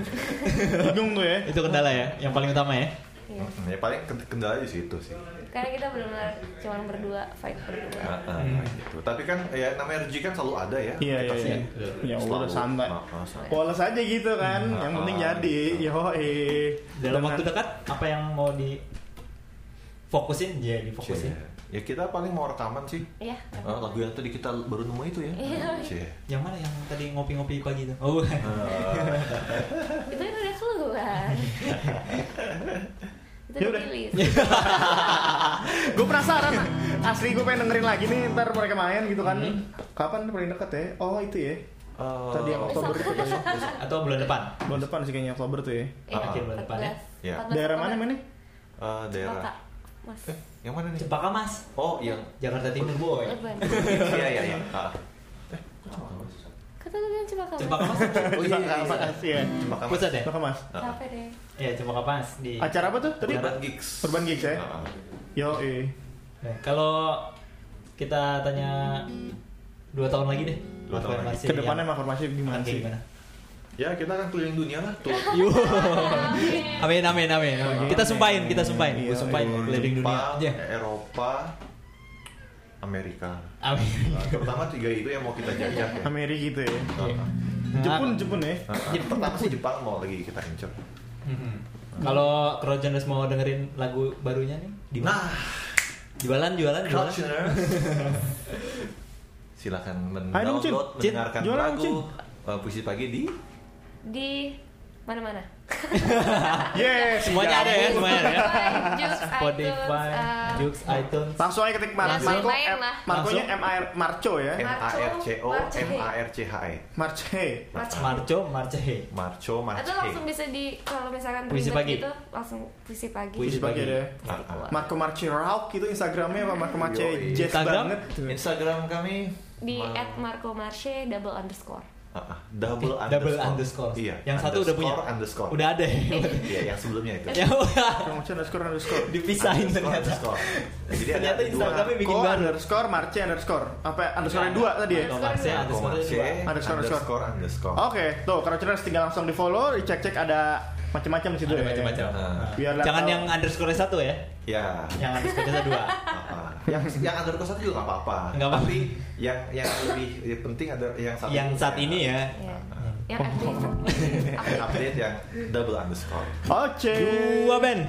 Speaker 3: Bingung tuh ya.
Speaker 4: Itu kendala ya, yang paling utama ya.
Speaker 1: Iya.
Speaker 2: Mm, ya paling kend- kendala di situ sih.
Speaker 1: karena kita benar-benar cuman berdua fight berdua
Speaker 2: Nah, uh, gitu. Tapi kan ya namanya rezeki kan selalu ada ya.
Speaker 3: Hmm. Iya iya
Speaker 2: Kita sih
Speaker 3: iya. Ya udah
Speaker 2: selalu-
Speaker 3: santai.
Speaker 2: Ah, ah, santai.
Speaker 1: Iya.
Speaker 3: Poles aja gitu kan, yang
Speaker 2: Ah,
Speaker 3: penting jadi.
Speaker 2: gitu.
Speaker 3: Yo eh.
Speaker 4: Dalam waktu dekat apa yang mau di fokusin? Ya, difokusin.
Speaker 3: Iya.
Speaker 2: Cie. ya kita paling mau rekaman sih
Speaker 1: Iya.
Speaker 2: Eh, lagu yang tadi kita baru nemu itu ya
Speaker 1: Iya.
Speaker 2: Cie.
Speaker 4: Yang mana yang tadi ngopi-ngopi pagi itu? Oh, bukan.
Speaker 1: Itu kan udah keluar. itu
Speaker 3: Ya
Speaker 1: udah
Speaker 3: udah.
Speaker 1: rilis. Iya,
Speaker 3: gue penasaran asli gue pengen dengerin lagi nih ntar mereka main gitu kan
Speaker 4: Hmm.
Speaker 3: kapan nih paling deket ya oh itu ya
Speaker 2: Eh,
Speaker 3: tadi yang Oktober itu kayaknya
Speaker 4: atau bulan depan.
Speaker 3: bulan depan sih kayaknya Oktober tuh ya
Speaker 1: Iya,
Speaker 2: Akhir
Speaker 4: bulan depan ya?
Speaker 1: 14.
Speaker 2: Iya.
Speaker 1: 14
Speaker 3: daerah mana
Speaker 1: Oktober.
Speaker 3: mana
Speaker 2: eh, daerah
Speaker 1: Kota, Mas.
Speaker 2: eh yang mana nih
Speaker 4: Cepaka Mas.
Speaker 2: oh yang
Speaker 4: Jakarta Timur boy.
Speaker 1: Urban.
Speaker 2: iya iya iya Ah.
Speaker 4: Oh,
Speaker 1: Kata lu bilang cuma kamu.
Speaker 4: Cepaka Mas.
Speaker 2: oh iya iya, iya.
Speaker 3: Mas ya
Speaker 2: Cempaka Mas.
Speaker 4: Pusat ya?
Speaker 3: Maka mas
Speaker 2: Ah.
Speaker 1: Capek deh.
Speaker 4: Iya, Cepaka Mas di.
Speaker 3: acara apa tuh tadi
Speaker 2: Urban Geeks
Speaker 3: Urban Geeks ya
Speaker 2: Ah.
Speaker 3: yo eh
Speaker 4: Nah, Kalau kita tanya dua tahun lagi deh.
Speaker 2: Dua tahun lagi.
Speaker 4: Masih
Speaker 3: kedepannya
Speaker 4: yang-
Speaker 3: mah formasi gimana
Speaker 4: Oke,
Speaker 3: sih
Speaker 4: gimana?
Speaker 2: ya kita akan keliling dunia lah tuh
Speaker 4: Amin amin amin. Kita sumpahin, kita sumpahin.
Speaker 3: Iya,
Speaker 4: Gue sumpahin
Speaker 3: iya.
Speaker 4: keliling dunia
Speaker 2: Jepang,
Speaker 4: aja.
Speaker 2: Eropa Amerika
Speaker 4: Amin.
Speaker 2: Nah, terutama tiga itu yang mau kita jajah ya.
Speaker 3: Amerika gitu ya
Speaker 2: Ah.
Speaker 4: Nah,
Speaker 3: Jepun Jepun ya
Speaker 2: Nah, pertama sih Jepang mau lagi kita incer.
Speaker 4: mhm. Kalau Crojoners mau dengerin lagu barunya nih, di mana?
Speaker 2: Nah,
Speaker 4: Jualan, jualan, jualan.
Speaker 2: Couchner. Silakan
Speaker 3: Ayo dong, Cin.
Speaker 2: mendownload,
Speaker 3: Cin,
Speaker 2: mendengarkan
Speaker 3: jualan dong,
Speaker 2: lagu uh, puisi pagi di
Speaker 1: Di mana-mana.
Speaker 3: yes
Speaker 4: Nah. Semuanya ada ya, semuanya ada ya.
Speaker 1: Jokes,
Speaker 4: Spotify,
Speaker 1: iTunes, uh,
Speaker 4: Jukes, iTunes.
Speaker 3: langsung aja ketik Mar
Speaker 1: Langsung
Speaker 3: Marco
Speaker 1: main
Speaker 3: M-
Speaker 1: lah.
Speaker 3: Marconya M A R Marco ya
Speaker 2: M A R C O M A R C H E.
Speaker 3: Marce
Speaker 1: Marco.
Speaker 4: Marco, Marcehe.
Speaker 2: Marco
Speaker 1: Atau
Speaker 2: Marce.
Speaker 1: langsung bisa di kalau misalkan
Speaker 4: Puisi
Speaker 1: ribet
Speaker 4: pagi.
Speaker 1: gitu langsung puisi pagi.
Speaker 3: Puisi
Speaker 4: Puisi
Speaker 3: pagi
Speaker 4: pagi.
Speaker 3: ada ya
Speaker 2: Ah, ah.
Speaker 3: Marco Marce Rauk gitu Instagramnya apa Marco Marce
Speaker 2: Yoi.
Speaker 3: jazz
Speaker 4: Instagram?
Speaker 3: banget tuh.
Speaker 2: Instagram kami
Speaker 1: Di
Speaker 2: ma-
Speaker 1: at Marco Marche double underscore.
Speaker 2: ah, ah, double,
Speaker 4: Eh,
Speaker 2: underscore.
Speaker 4: double underscore.
Speaker 2: Iya.
Speaker 4: Yang satu udah punya.
Speaker 2: underscore, Underscore.
Speaker 4: Udah ada ya.
Speaker 2: Iya, yang sebelumnya itu.
Speaker 4: Ya udah.
Speaker 3: Marco Marce underscore underscore
Speaker 4: Dipisahin
Speaker 2: Underscore,
Speaker 4: ternyata.
Speaker 2: underscore. Jadi ada
Speaker 4: Ternyata
Speaker 2: ada dua.
Speaker 4: Instagramnya bikin
Speaker 3: Ko
Speaker 4: baru.
Speaker 3: underscore Marce underscore apa underscore dua tadi ya
Speaker 4: Marco Marce,
Speaker 1: Underscore
Speaker 2: Marco Marce,
Speaker 4: underscore dua.
Speaker 3: Underscore, Oh.
Speaker 2: underscore underscore.
Speaker 3: Oke, tuh Crouchers tinggal langsung di follow, dicek cek ada macam-macam di situ
Speaker 4: Ada Ah.
Speaker 3: ya.
Speaker 4: macam-macam.
Speaker 2: Nah.
Speaker 3: Biar lah
Speaker 4: Jangan
Speaker 3: tahu.
Speaker 4: yang underscore satu ya.
Speaker 2: Ya.
Speaker 4: Yang underscore dua.
Speaker 2: Ah, yang yang underscore satu juga nggak apa-apa.
Speaker 4: Nggak apa-apa.
Speaker 2: Tapi yang yang lebih ya, penting ada yang saat
Speaker 4: Yang saat ini ya.
Speaker 1: Ya. Yang update.
Speaker 2: Yang Ah, update yang double underscore.
Speaker 3: Oce.
Speaker 4: Dua band,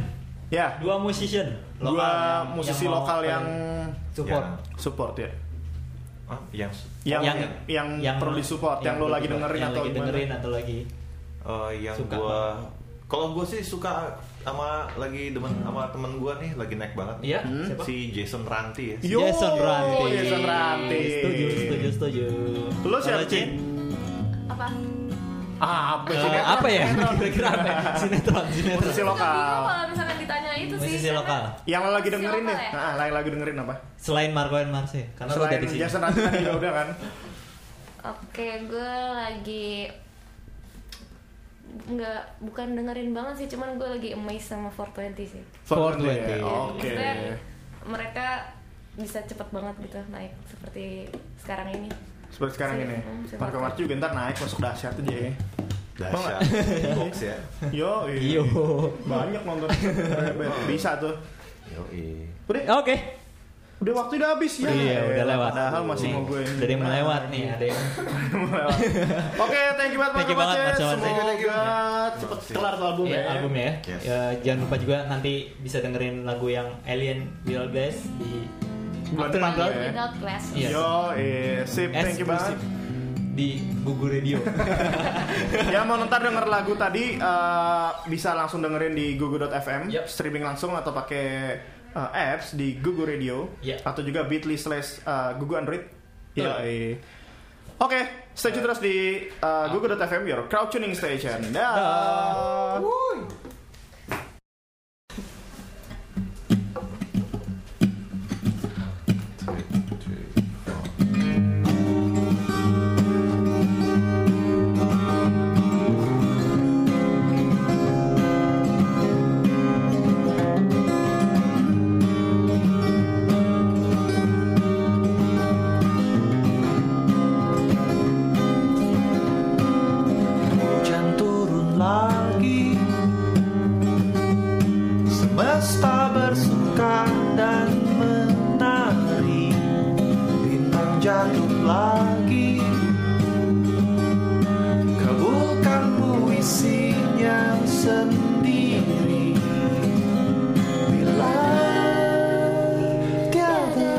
Speaker 3: Ya,
Speaker 4: dua musician.
Speaker 3: dua
Speaker 4: yang-
Speaker 3: musisi
Speaker 4: mau
Speaker 3: lokal yang
Speaker 4: support.
Speaker 2: Yang-
Speaker 3: support ya.
Speaker 2: Ah, yang
Speaker 3: Yang yang,
Speaker 4: Yang-
Speaker 3: perlu disupport, yang, lo
Speaker 4: perlu
Speaker 3: lagi
Speaker 4: support,
Speaker 3: dengerin
Speaker 4: yang
Speaker 3: atau
Speaker 4: lagi
Speaker 3: gimana?
Speaker 4: dengerin atau lagi
Speaker 2: eh, yang
Speaker 4: Suka
Speaker 2: gua kalau gua sih suka sama lagi demen sama temen gua nih lagi naik banget nih.
Speaker 4: Iya, siapa?
Speaker 2: Si Jason Ranti ya.
Speaker 3: Yo,
Speaker 4: Jason Ranti.
Speaker 3: Jason Ranti.
Speaker 4: Setuju, setuju, setuju.
Speaker 3: Lu siapa,
Speaker 4: Kalau Cin?
Speaker 3: Cin?
Speaker 1: Apa?
Speaker 3: Ah, apa
Speaker 4: Eh,
Speaker 3: sih?
Speaker 4: apa ya? Kira-kira apa? ya? Sinetron, sinetron.
Speaker 3: Musisi
Speaker 1: Suka bingung
Speaker 3: lokal.
Speaker 1: kalau misalkan ditanya itu sih.
Speaker 4: Musisi
Speaker 1: karena-
Speaker 4: lokal.
Speaker 3: Yang lo lagi
Speaker 1: Musisi
Speaker 3: dengerin
Speaker 1: lokal
Speaker 3: nih.
Speaker 1: ya?
Speaker 3: Nah, lagi lagi dengerin apa?
Speaker 4: Selain Marco and Marce, karena lu udah
Speaker 3: Selain
Speaker 4: di sini.
Speaker 3: Jason Ranti tadi udah kan.
Speaker 1: Oke, gue lagi nggak bukan dengerin banget sih, cuman gue lagi amazed sama 420 sih.
Speaker 4: 420.
Speaker 3: Oke.
Speaker 1: Maksudnya, mereka bisa cepet banget gitu naik seperti sekarang ini.
Speaker 3: Seperti sekarang ini.
Speaker 1: Hmm, siapa?
Speaker 3: Marco Marci juga ntar naik masuk dahsyat aja ya.
Speaker 2: Dahsyat. Box ya.
Speaker 3: Yo, iya.
Speaker 4: Yo.
Speaker 3: banyak nonton bisa tuh.
Speaker 2: Yoi.
Speaker 3: Udah,
Speaker 4: Oke.
Speaker 3: udah waktu udah habis ya.
Speaker 4: Iya, udah
Speaker 3: Elah,
Speaker 4: lewat.
Speaker 3: Padahal masih
Speaker 4: Nih,
Speaker 3: mau gue ini. Iya.
Speaker 4: Udah ada yang melewat nih, ada yang
Speaker 3: Melewat. Oke, thank you banget
Speaker 4: Thank you
Speaker 3: Marco
Speaker 4: banget,
Speaker 3: Macet.
Speaker 4: Marco Macet. Thank you,
Speaker 3: Semoga
Speaker 2: you.
Speaker 3: cepet kelar tuh album
Speaker 4: ya,
Speaker 3: ya.
Speaker 4: albumnya ya.
Speaker 2: Yes.
Speaker 4: Ya, Jangan lupa juga nanti bisa dengerin lagu yang Alien Will Guys di
Speaker 3: Bulan
Speaker 4: Afternoon
Speaker 3: depan
Speaker 4: Cloud
Speaker 3: ya.
Speaker 1: Without Glass.
Speaker 4: Iya.
Speaker 3: Yo, eh, sip, thank you banget.
Speaker 4: eksklusif di Gugu Radio.
Speaker 3: Yang Ya, mau ntar denger lagu tadi eh, bisa langsung dengerin di gugu.fm
Speaker 4: Yep.
Speaker 3: streaming langsung atau pakai eh, apps di Gugu Radio
Speaker 4: Yep.
Speaker 3: atau juga bit.ly slash eh, Gugu Android.
Speaker 4: Betul.
Speaker 3: Ya, eh. Oke, stay tune terus di eh, gugu.fm your crowd tuning station. Dah.
Speaker 6: hujan turun lagi Semesta bersuka dan menari Bintang jatuh lagi Kabulkan puisinya sendiri Bila tiada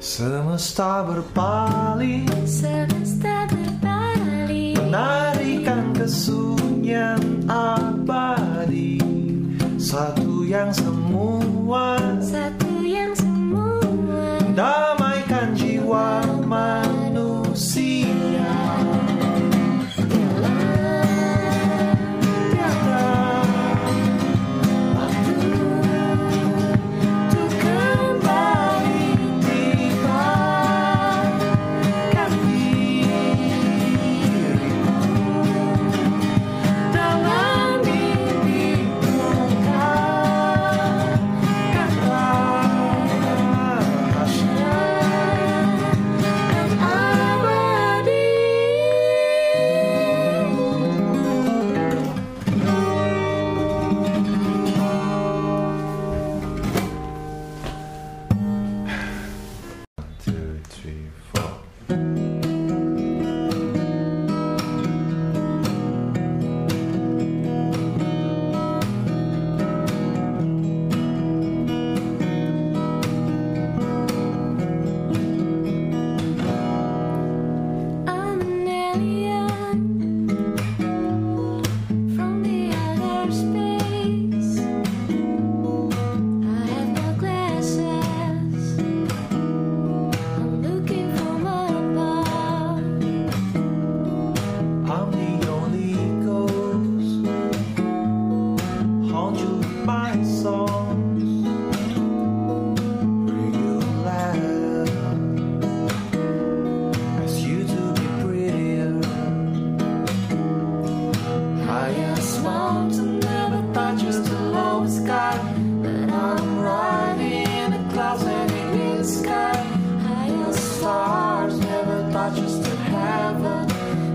Speaker 6: Semesta berpaling
Speaker 1: Semesta berbalik
Speaker 6: Menarikan kesunyian abadi Satu yang semua
Speaker 1: Satu yang semua
Speaker 6: Damaikan jiwa manusia Tiada
Speaker 1: Untuk kembali
Speaker 6: tiba
Speaker 1: dalam mimpi dan abadi
Speaker 2: two, three, four.
Speaker 1: I'm an alien from the outer space. I have no glasses. I'm looking for my ball.
Speaker 6: I'm the only ghost Haunt you with my songs Bring you laugh Ask you to be prettier I am sworn to never touch just the low sky But I'm riding in the clouds and in the sky Higher stars never touch just the heaven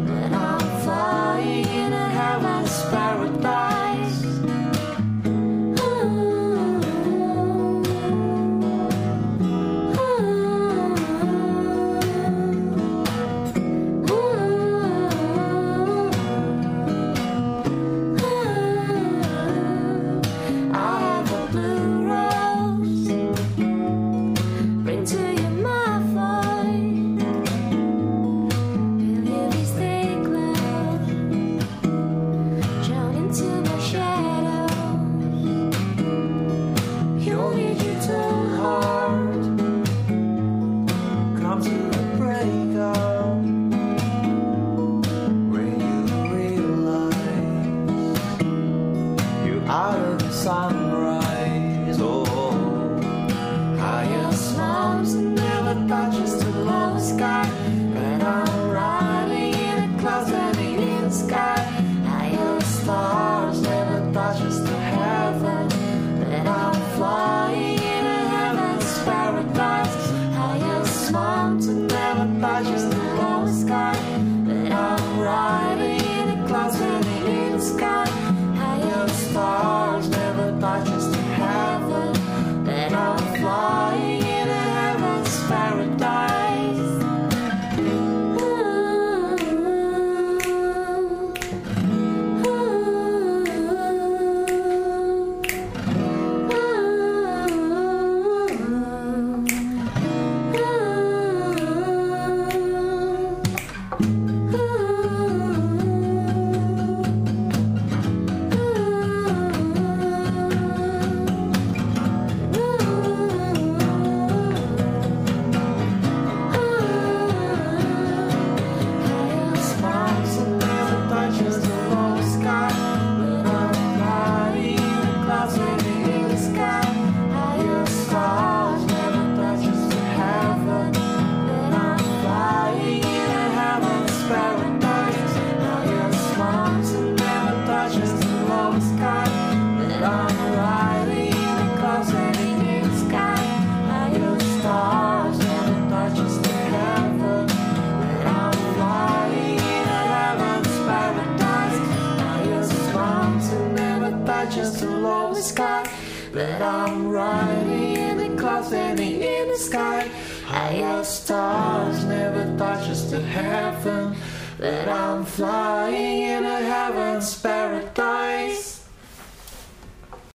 Speaker 6: But I'm flying in a heaven's paradise
Speaker 1: I have a blue rose. Bring to you my voice. Will you stay close? Drown into my shadows.
Speaker 6: Your digital heart comes to a break up when you realize you are the sunrise. Oh, higher slums and never touches the low sky. And I'm riding in the clouds and in the sky. Higher stars never touches the heaven. And I'm flying in a heaven's paradise. Higher slums and never touches the low sky. And I'm riding in the clouds and in the sky. Higher stars never touches the heaven. Then I'm flying in a heaven's paradise. Mm-hmm. Mm-hmm. Stars never touches the heaven. Just the lowest sky, but I'm riding in the clouds and in the sky. Higher stars never touches the heaven, but I'm flying in a heaven's paradise.